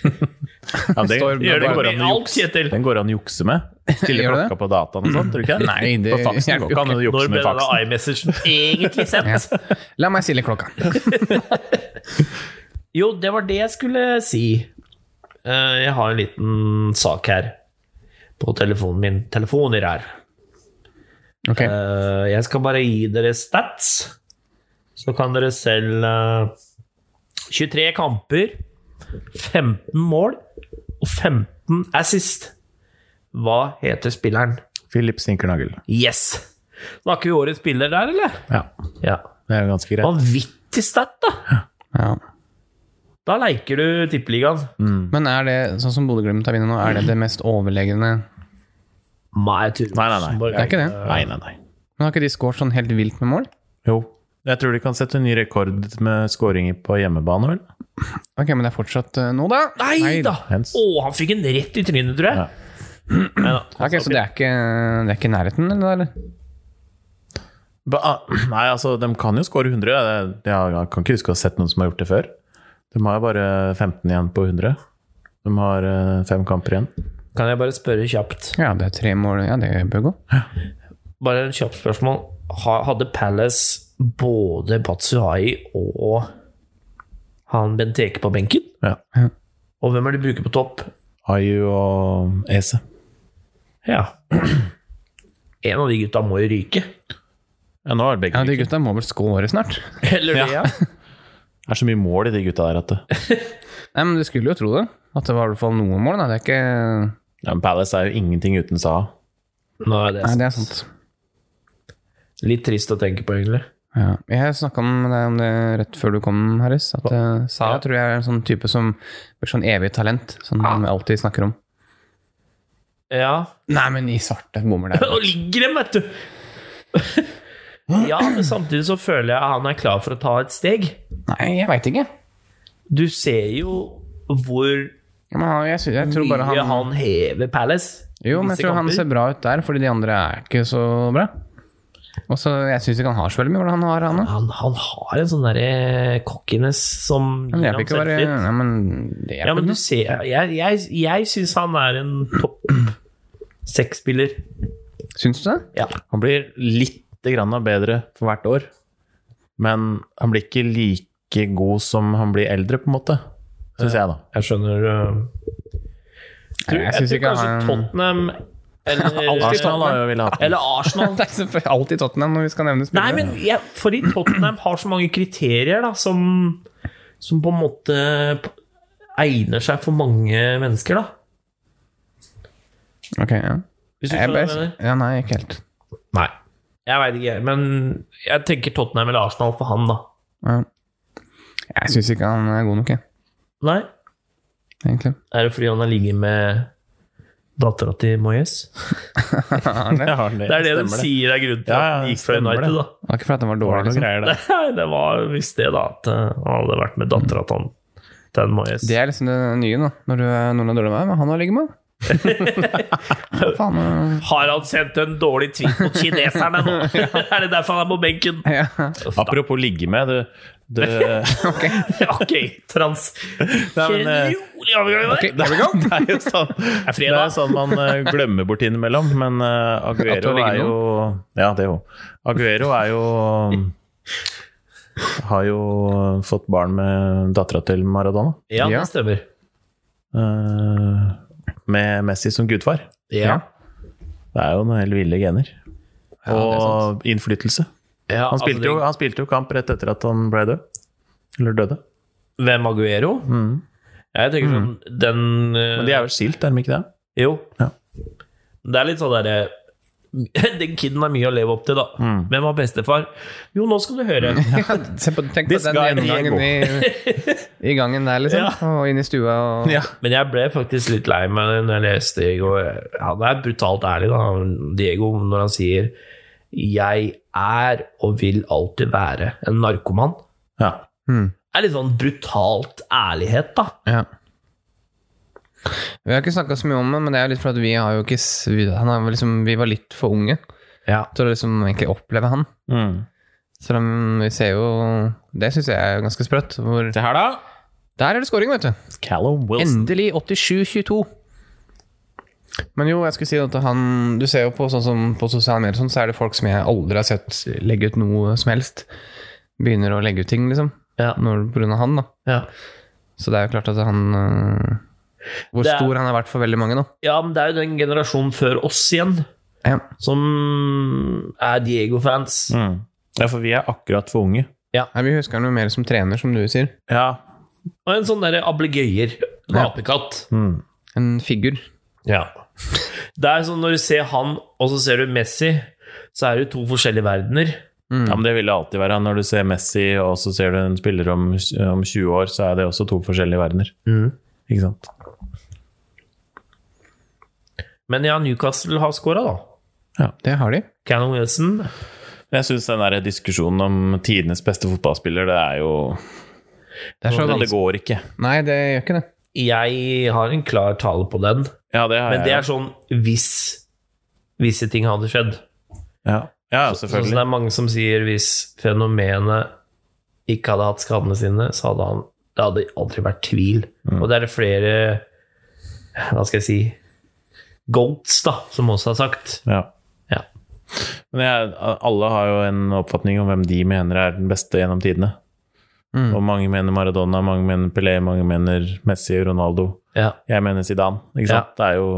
[SPEAKER 1] ja, det,
[SPEAKER 2] står-
[SPEAKER 1] gjør det
[SPEAKER 2] bare-
[SPEAKER 1] går an å jukse.
[SPEAKER 3] Kjetil!
[SPEAKER 1] Den går an å jukse med. Stille
[SPEAKER 2] Gjør det?
[SPEAKER 1] klokka på dataen og sånt, tror du ikke?
[SPEAKER 2] Nei, det
[SPEAKER 1] på faksen
[SPEAKER 2] hjelper
[SPEAKER 1] går ikke an å
[SPEAKER 2] jo
[SPEAKER 1] jukse
[SPEAKER 3] Når ble
[SPEAKER 1] med
[SPEAKER 3] denne
[SPEAKER 1] faksen.
[SPEAKER 3] iMessagen egentlig sendt?
[SPEAKER 2] La meg stille klokka.
[SPEAKER 3] Jo, det var det jeg skulle si. Eh, Jeg har en liten sak her på telefonen min. Telefoner her.
[SPEAKER 2] Ok,
[SPEAKER 3] Eh, Jeg skal bare gi dere stats, så kan dere selv eh, 23 kamper, 15 mål og 15 assist. Hva heter spilleren?
[SPEAKER 1] Philip Sinkernagel.
[SPEAKER 3] Yes! Snakker vi årets spiller der, eller?
[SPEAKER 1] Ja,
[SPEAKER 3] Ja.
[SPEAKER 1] det er jo ganske greit.
[SPEAKER 3] Vanvittig stat, da!
[SPEAKER 2] ja.
[SPEAKER 3] Da leker du Tippeligaen.
[SPEAKER 2] Men er det sånn som Bodø-Glimt har vunnet nå, er det det mest overlegne
[SPEAKER 3] Nei, jeg tror
[SPEAKER 1] Nei, nei, nei.
[SPEAKER 2] Det er ikke det?
[SPEAKER 1] Nei, nei, nei.
[SPEAKER 2] Men har ikke de skåret sånn helt vilt med mål?
[SPEAKER 1] Jo. Jeg tror de kan sette en ny rekord med skåringer på hjemmebane, vel?
[SPEAKER 2] Ok, men det er fortsatt eh, nå, da.
[SPEAKER 3] Nei da! Å,
[SPEAKER 1] Hens.
[SPEAKER 3] han fikk en rett i trynet, tror jeg.
[SPEAKER 1] Ja.
[SPEAKER 3] Neida.
[SPEAKER 2] Ok, Så det er ikke, det er ikke i nærheten, eller?
[SPEAKER 1] Ba, ah, nei, altså, de kan jo skåre 100. Jeg, jeg, jeg kan ikke huske å ha sett noen som har gjort det før. De har jo bare 15 igjen på 100. De har eh, fem kamper igjen.
[SPEAKER 3] Kan jeg bare spørre kjapt?
[SPEAKER 2] Ja, det er tre mål. Ja, det bør gå.
[SPEAKER 3] Bare et kjapt spørsmål. Ha- Hadde Palace både Batsuhai og han Benteke på benken?
[SPEAKER 1] Ja.
[SPEAKER 3] Og hvem er det de bruker på topp?
[SPEAKER 1] Ayu og Ese.
[SPEAKER 3] Ja. En av de gutta må jo ryke.
[SPEAKER 1] Ja, nå er det begge.
[SPEAKER 2] Ja, De gutta må vel score snart?
[SPEAKER 3] Eller det, ja.
[SPEAKER 1] Det er så mye mål i de gutta der at det.
[SPEAKER 2] Nei, men Du skulle jo tro det. At det var i hvert fall noen mål. Da. Det er ikke
[SPEAKER 1] Ja, men Palace er jo ingenting uten Saha.
[SPEAKER 3] Nå er det
[SPEAKER 2] Nei, det er sant.
[SPEAKER 3] litt trist å tenke på, egentlig.
[SPEAKER 2] Ja. Jeg snakka med deg om det rett før du kom, Harris. At eh, Sa
[SPEAKER 3] Ja. Ah.
[SPEAKER 2] tror jeg er en sånn type som blir sånn evig talent. Som vi alltid snakker om.
[SPEAKER 3] Ja.
[SPEAKER 2] Nei, men i svarte bommer der.
[SPEAKER 3] Og ligger dem, vet du! Ja, men samtidig så føler jeg han er klar for å ta et steg.
[SPEAKER 2] Nei, jeg veit ikke.
[SPEAKER 3] Du ser jo hvor
[SPEAKER 2] Ja, men han, jeg, sy- jeg tror bare
[SPEAKER 3] Mye
[SPEAKER 2] han
[SPEAKER 3] han hever Palace.
[SPEAKER 2] Jo, men jeg
[SPEAKER 3] Visse
[SPEAKER 2] tror han
[SPEAKER 3] kamper.
[SPEAKER 2] ser bra ut der, fordi de andre er ikke så bra. Og så, Jeg syns ikke han har så veldig mye hvordan han har han da.
[SPEAKER 3] Han, han har en sånn derre cockiness som
[SPEAKER 2] Men
[SPEAKER 3] gir
[SPEAKER 2] jeg vil
[SPEAKER 3] ham
[SPEAKER 2] ikke være
[SPEAKER 3] selvtillit.
[SPEAKER 2] ja, men det er
[SPEAKER 3] Ja, men
[SPEAKER 2] ikke
[SPEAKER 3] du
[SPEAKER 2] noe.
[SPEAKER 3] ser Jeg, jeg, jeg syns han er en topp seks-spiller.
[SPEAKER 2] Syns du det?
[SPEAKER 3] Ja.
[SPEAKER 1] Han blir litt grann bedre for hvert år, men han blir ikke like god som han blir eldre, på en måte. Syns jeg, da.
[SPEAKER 3] Jeg skjønner uh, tror,
[SPEAKER 2] jeg
[SPEAKER 3] Jeg,
[SPEAKER 2] synes
[SPEAKER 3] tror
[SPEAKER 2] ikke
[SPEAKER 3] kanskje
[SPEAKER 2] han-
[SPEAKER 3] Tottenham eller
[SPEAKER 1] Arsenal har jo ville hatt den.
[SPEAKER 3] Eller Arsenal.
[SPEAKER 2] Det er selvfølgelig alltid Tottenham når vi skal nevne
[SPEAKER 3] Nei,
[SPEAKER 2] spillere.
[SPEAKER 3] men jeg, fordi Tottenham har så mange kriterier da, som, som på en måte p- egner seg for mange mennesker, da.
[SPEAKER 2] Ok, ja.
[SPEAKER 3] Hvis
[SPEAKER 2] Jeg
[SPEAKER 3] du skjønner hva jeg
[SPEAKER 2] bare,
[SPEAKER 3] mener.
[SPEAKER 2] ja, nei, ikke helt.
[SPEAKER 3] Nei. Jeg veit ikke, men jeg tenker Tottenham eller Arsenal for han, da.
[SPEAKER 2] Ja. Jeg syns ikke han er god nok, jeg.
[SPEAKER 3] Nei.
[SPEAKER 2] Egentlig.
[SPEAKER 3] Er det fordi han har ligget med dattera til Moyes?
[SPEAKER 2] Han er det.
[SPEAKER 1] Ja,
[SPEAKER 3] Det er det de
[SPEAKER 1] stemmer
[SPEAKER 3] sier er grunnen til
[SPEAKER 1] Ja, ja,
[SPEAKER 3] at han gikk fra
[SPEAKER 1] stemmer
[SPEAKER 3] United,
[SPEAKER 1] det.
[SPEAKER 3] da.
[SPEAKER 2] Det var ikke fordi
[SPEAKER 1] Det
[SPEAKER 2] han var
[SPEAKER 1] var
[SPEAKER 2] dårlig,
[SPEAKER 1] noen
[SPEAKER 2] liksom.
[SPEAKER 1] greier, det.
[SPEAKER 3] Nei, det var visst det, da. At eh, han hadde vært med dattera til han- til han Moyes.
[SPEAKER 2] Det er liksom det nye nå, når du er noen er dårlig med deg, men han har ligget med. Faen, eh,
[SPEAKER 3] Har han sendt en dårlig tweet mot kineserne nå? er det derfor han er på benken?
[SPEAKER 2] ja.
[SPEAKER 1] Apropos ligge med, du, du Nei,
[SPEAKER 3] ok, trans.
[SPEAKER 1] men, eh,
[SPEAKER 3] Rolig overgang der.
[SPEAKER 2] Ok, there we go.
[SPEAKER 1] Det er jo sånn,
[SPEAKER 3] er
[SPEAKER 1] det
[SPEAKER 3] fredag.
[SPEAKER 1] er sånn man eh, glemmer bort innimellom, men eh,
[SPEAKER 2] At du
[SPEAKER 1] Aguero
[SPEAKER 2] har ligget
[SPEAKER 1] er jo Ja, det er jo Aguero er jo Har jo fått barn med dattera til Maradona.
[SPEAKER 3] Ja,
[SPEAKER 2] Ja.
[SPEAKER 3] det stemmer.
[SPEAKER 1] eh, Med Messi som gudfar.
[SPEAKER 3] Ja.
[SPEAKER 1] Det er jo noen helt ville gener.
[SPEAKER 2] det er
[SPEAKER 1] Og innflytelse.
[SPEAKER 3] Ja,
[SPEAKER 1] Han spilte,
[SPEAKER 3] altså,
[SPEAKER 1] jo, han spilte jo kamp rett etter at han ble død. Eller døde.
[SPEAKER 3] Hvem Aguero? Jeg tenker sånn Den
[SPEAKER 1] Mm.
[SPEAKER 3] eh,
[SPEAKER 1] Men de er jo skilt, er de ikke det?
[SPEAKER 3] Jo.
[SPEAKER 1] Ja.
[SPEAKER 3] Det er litt sånn derre Den kiden har mye å leve opp til, da. Hvem var bestefar? Jo, nå skal du høre.
[SPEAKER 2] Mm. Se på, tenk på
[SPEAKER 1] This
[SPEAKER 2] den
[SPEAKER 1] guy
[SPEAKER 2] gjennomgangen i, i gangen der, liksom. Og inn i stua og
[SPEAKER 1] Ja.
[SPEAKER 3] Men jeg ble faktisk litt lei meg når jeg leste i går. Han er brutalt ærlig, da, Diego, når han sier 'Jeg er og vil alltid være en narkoman'.
[SPEAKER 1] ja.
[SPEAKER 2] Hmm.
[SPEAKER 3] Det er litt sånn brutalt ærlighet, da.
[SPEAKER 2] Ja. Vi har ikke snakka så mye om det, men det er jo litt for at vi har jo ikke s- vi, han har jo liksom, vi var litt for unge
[SPEAKER 3] Ja.
[SPEAKER 2] til å liksom egentlig oppleve han.
[SPEAKER 1] Mm.
[SPEAKER 2] Så de, vi ser jo Det syns jeg er ganske sprøtt. Hvor,
[SPEAKER 1] Det her, da?
[SPEAKER 2] der er det scoring, vet du!
[SPEAKER 1] Callum Wilson.
[SPEAKER 2] Endelig 87-22. Men jo, jeg skulle si at han Du ser jo på sånn som på sosiale medier, og sånn, så er det folk som jeg aldri har sett legge ut noe som helst. Begynner å legge ut ting, liksom.
[SPEAKER 3] Ja.
[SPEAKER 2] Når, på grunn av han, da.
[SPEAKER 3] Ja.
[SPEAKER 2] Så det er jo klart at han øh, Hvor
[SPEAKER 3] Det er-
[SPEAKER 2] stor han har vært for veldig mange nå.
[SPEAKER 3] ja, men det er jo den generasjonen før oss igjen
[SPEAKER 2] Ja.
[SPEAKER 3] som er Diego-fans.
[SPEAKER 1] Mm. Ja, for vi er akkurat for unge.
[SPEAKER 2] Nei, Vi husker han jo mer som trener, som du sier.
[SPEAKER 1] Ja.
[SPEAKER 3] Og en sånn derre ablegøyer. En
[SPEAKER 2] Ja.
[SPEAKER 3] apekatt.
[SPEAKER 1] Mm.
[SPEAKER 2] En figur.
[SPEAKER 3] Ja. Det er sånn når du ser han, og så ser du Messi, så er det jo to forskjellige verdener.
[SPEAKER 1] ja, men det vil det alltid være. Når du ser Messi, og så ser du en spiller om, om 20 år, så er det også to forskjellige verdener. Ikke sant?
[SPEAKER 3] Men ja, Newcastle har scora, da.
[SPEAKER 2] Det har de.
[SPEAKER 3] Cannon Wilson.
[SPEAKER 1] Men jeg syns den der diskusjonen om tidenes beste fotballspiller, det er jo
[SPEAKER 2] Det er så
[SPEAKER 1] Det
[SPEAKER 2] vanskelig.
[SPEAKER 1] går ikke.
[SPEAKER 2] Nei, det gjør ikke det.
[SPEAKER 3] Jeg har en klar tale på den,
[SPEAKER 1] Ja, det har
[SPEAKER 3] men det
[SPEAKER 1] jeg.
[SPEAKER 3] er sånn hvis visse ting hadde skjedd.
[SPEAKER 1] Ja, ja
[SPEAKER 3] Sånn som
[SPEAKER 1] selvfølgelig.
[SPEAKER 3] det er mange som sier hvis fenomenet ikke hadde hatt skadene sine, så hadde han Det hadde aldri vært tvil.
[SPEAKER 1] Mm.
[SPEAKER 3] Og det er det flere Hva skal jeg si Goats, da, som også har sagt.
[SPEAKER 1] Ja.
[SPEAKER 3] Ja.
[SPEAKER 1] Men jeg, alle har jo en oppfatning om hvem de mener er den beste gjennom tidene.
[SPEAKER 2] Mm.
[SPEAKER 1] Og mange mener Maradona, mange mener Pelé, mange mener Messi og Ronaldo.
[SPEAKER 3] Ja.
[SPEAKER 1] Jeg mener Zidane. Ikke
[SPEAKER 3] Ja.
[SPEAKER 1] sant? Det er jo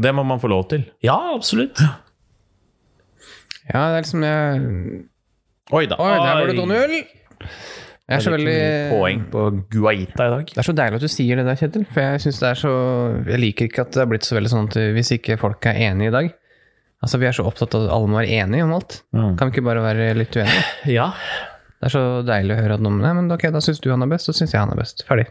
[SPEAKER 1] Det må man få lov til.
[SPEAKER 3] Ja, absolutt.
[SPEAKER 2] Ja, det er liksom jeg...
[SPEAKER 1] Oi da.
[SPEAKER 2] Oi, der var det
[SPEAKER 3] Oi.
[SPEAKER 2] 2-0! Jeg er så veldig
[SPEAKER 1] Poeng på Guaita i dag.
[SPEAKER 2] Det er så deilig at du sier det der, Kjetil. For jeg synes det er så Jeg liker ikke at det er blitt så veldig sånn at hvis ikke folk er enige i dag Altså, vi er så opptatt av at alle må være enige om alt.
[SPEAKER 1] Mm.
[SPEAKER 2] Kan vi ikke bare være litt uenige?
[SPEAKER 3] Ja.
[SPEAKER 2] Det er så deilig å høre at noen Nei, men ok, da syns du han er best, så syns jeg han er best. Ferdig.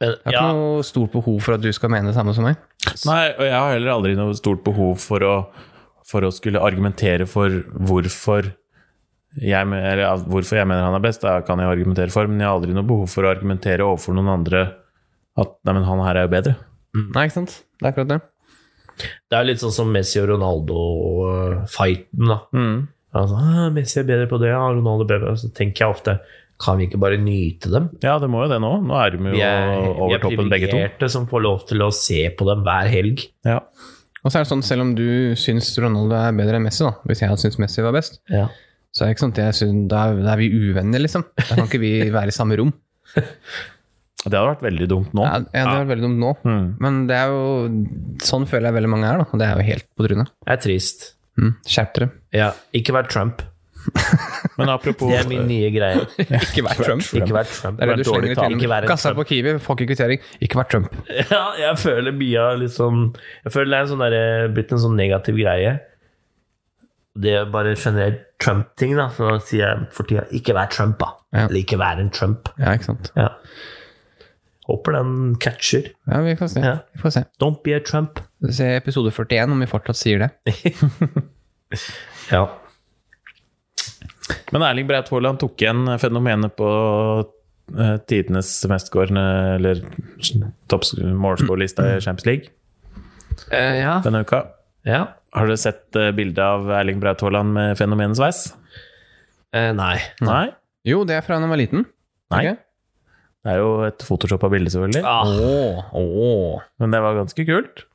[SPEAKER 3] Men,
[SPEAKER 2] Det er
[SPEAKER 3] ja.
[SPEAKER 2] ikke noe stort behov for at du skal mene det samme som meg.
[SPEAKER 1] Nei, og jeg har heller aldri noe stort behov for å, for å skulle argumentere for hvorfor jeg, men- eller, ja, hvorfor jeg mener han er best. Det kan jeg argumentere for, men jeg har aldri noe behov for å argumentere overfor noen andre At nei, men han her er jo bedre.
[SPEAKER 2] Nei, ikke sant? Det er akkurat det.
[SPEAKER 3] Det er litt sånn som Messi og Ronaldo-fighten, da. Altså, ah, Messi er bedre på det, ah, Ronaldo er bedre på det. Så tenker jeg ofte kan vi ikke bare nyte dem?
[SPEAKER 1] Ja, det må jo det nå. Nå er de jo
[SPEAKER 3] Vi er, vi
[SPEAKER 1] over
[SPEAKER 3] er
[SPEAKER 1] toppen, begge to.
[SPEAKER 3] privilegerte som får lov til å se på dem hver helg.
[SPEAKER 1] Ja.
[SPEAKER 2] Og så er det sånn, selv om du syns Ronaldo er bedre enn Messi, da, hvis jeg hadde syntes Messi var best, så er det ikke sånn at jeg synes, da, er, da er vi uvenner, liksom. Da kan ikke vi være i samme rom.
[SPEAKER 1] Det hadde vært veldig dumt nå.
[SPEAKER 2] Ja, ja, det er veldig dumt nå.
[SPEAKER 3] Mm.
[SPEAKER 2] Men det er jo, sånn føler jeg veldig mange er, da. Og det er jo helt på trynet.
[SPEAKER 3] Det er trist.
[SPEAKER 2] Mm. Skjerp dere.
[SPEAKER 3] Ja. Ikke vær Trump.
[SPEAKER 1] Men apropos
[SPEAKER 3] Det er min nye greie.
[SPEAKER 2] Ikke vær Trump.
[SPEAKER 3] Ikke vær Trump.
[SPEAKER 2] Det er det
[SPEAKER 3] Vær
[SPEAKER 2] du slenger
[SPEAKER 3] dårlig
[SPEAKER 2] ut til
[SPEAKER 3] tale. Ikke vær
[SPEAKER 2] dem.
[SPEAKER 3] en
[SPEAKER 2] Kassa på Kiwi, får ikke kvittering. Ikke vær Trump.
[SPEAKER 3] Ja, jeg føler mye av litt sånn Jeg føler det er en sånn der, blitt en sånn negativ greie. Det er bare generelt Trump-ting, da. Så da sier jeg for tida ikke vær Trump, da.
[SPEAKER 2] Ja.
[SPEAKER 3] Eller ikke vær en Trump.
[SPEAKER 2] Ja, ikke sant.
[SPEAKER 3] Ja. Håper den catcher.
[SPEAKER 2] Ja, vi får se.
[SPEAKER 3] Ja.
[SPEAKER 2] Vi får se.
[SPEAKER 3] Don't be a Trump.
[SPEAKER 2] Se episode 41 om vi fortsatt sier det.
[SPEAKER 3] Ja.
[SPEAKER 1] Men Erling Breit Haaland tok igjen fenomenet på eh, tidenes mestskårende eller toppmålskårlista i Champions League
[SPEAKER 3] ja.
[SPEAKER 1] denne uka.
[SPEAKER 3] ja.
[SPEAKER 1] Har dere sett eh, bildet av Erling Breit Haaland med fenomenet sveis?
[SPEAKER 3] Eh, nei.
[SPEAKER 1] Nei?
[SPEAKER 2] Jo, det er fra da han var liten.
[SPEAKER 1] Nei.
[SPEAKER 2] Ikke?
[SPEAKER 1] Det er jo et photoshoppa bilde, selvfølgelig.
[SPEAKER 3] Ah,
[SPEAKER 2] Åh, åh.
[SPEAKER 1] Men det var ganske kult.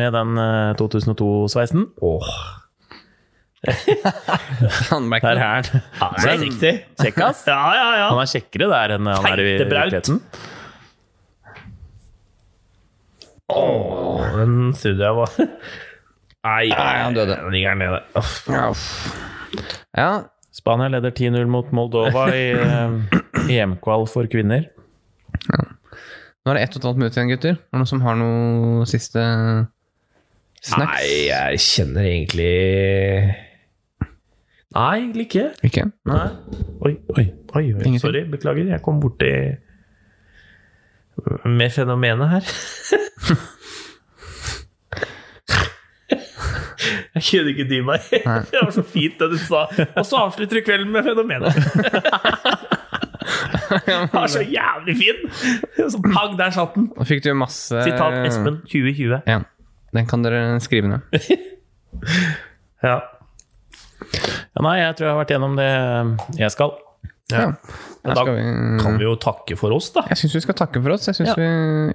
[SPEAKER 1] Med den eh, 2002-sveisen.
[SPEAKER 3] åh.
[SPEAKER 2] Han ble ikke
[SPEAKER 1] Der er han.
[SPEAKER 3] Ja, det er riktig.
[SPEAKER 1] Kjekkas.
[SPEAKER 3] Ja, ja, ja.
[SPEAKER 1] Han er kjekkere der enn han er i
[SPEAKER 3] Teite Braut.
[SPEAKER 1] virkeligheten.
[SPEAKER 3] Åh, den trodde jeg var Nei,
[SPEAKER 2] han døde.
[SPEAKER 3] Den ligger her nede. Uff.
[SPEAKER 2] Ja, uff. Ja,
[SPEAKER 1] Spania leder 10-0 mot Moldova i eh, EM-kval for kvinner.
[SPEAKER 2] nå er det ett og et halvt minutt igjen, gutter. Er det noen som har noe siste snacks?
[SPEAKER 3] Nei, jeg kjenner egentlig Nei, egentlig ikke.
[SPEAKER 2] Ikke?
[SPEAKER 3] Nei. Oi, oi, oi. oi.
[SPEAKER 2] Ingenting.
[SPEAKER 3] Sorry, beklager. Jeg kom borti med fenomenet her. Jeg kunne ikke dy meg. Det var så fint det du sa. Og så avslutter du kvelden med fenomenet. Det var så jævlig fin! Så pang, der satt den.
[SPEAKER 2] Nå fikk du masse
[SPEAKER 3] Sitat Espen 2020.
[SPEAKER 2] Ja. Den kan dere skrive ned.
[SPEAKER 3] Ja.
[SPEAKER 1] Ja, nei, jeg tror jeg har vært gjennom det eh, jeg skal.
[SPEAKER 2] Ja. Da
[SPEAKER 3] Da
[SPEAKER 2] skal vi
[SPEAKER 3] kan vi jo takke for oss, da.
[SPEAKER 2] Jeg syns vi skal takke for oss. Jeg synes vi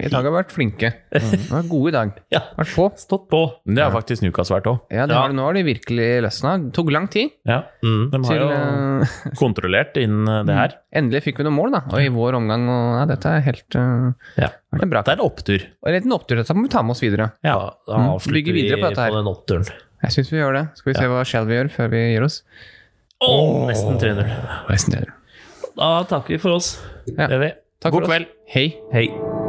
[SPEAKER 2] i dag har vært flinke. Vi var gode i dag.
[SPEAKER 3] Ja.
[SPEAKER 2] Vært på.
[SPEAKER 3] Stått på.
[SPEAKER 1] Men det har faktisk Nukas vært òg.
[SPEAKER 2] Ja, det
[SPEAKER 3] Ja.
[SPEAKER 2] har det nå har de virkelig løsna. Det tok lang tid.
[SPEAKER 1] Ja. De har
[SPEAKER 2] Til,
[SPEAKER 1] jo
[SPEAKER 2] eh,
[SPEAKER 1] kontrollert inn eh, det her.
[SPEAKER 2] endelig fikk vi noen mål, da. Og i vår omgang. Og, ja, dette er helt eh,
[SPEAKER 3] Ja.
[SPEAKER 2] vært en bra
[SPEAKER 1] Det er en opptur.
[SPEAKER 2] Og en liten opptur. Dette må vi ta med oss videre.
[SPEAKER 1] Ja.
[SPEAKER 3] Da avslutter
[SPEAKER 2] Bygge videre
[SPEAKER 3] vi
[SPEAKER 2] på dette her.
[SPEAKER 3] den oppturen.
[SPEAKER 2] Jeg syns vi gjør det. Skal vi se hva Shell vi gjør før vi gir oss.
[SPEAKER 3] Åh, nesten 3-0.
[SPEAKER 2] Resten til dere.
[SPEAKER 3] Da takker vi for oss.
[SPEAKER 2] Ja.
[SPEAKER 3] Det gjør vi.
[SPEAKER 2] Takk
[SPEAKER 1] God
[SPEAKER 2] for oss.
[SPEAKER 1] kveld.
[SPEAKER 2] Hei.
[SPEAKER 3] Hei.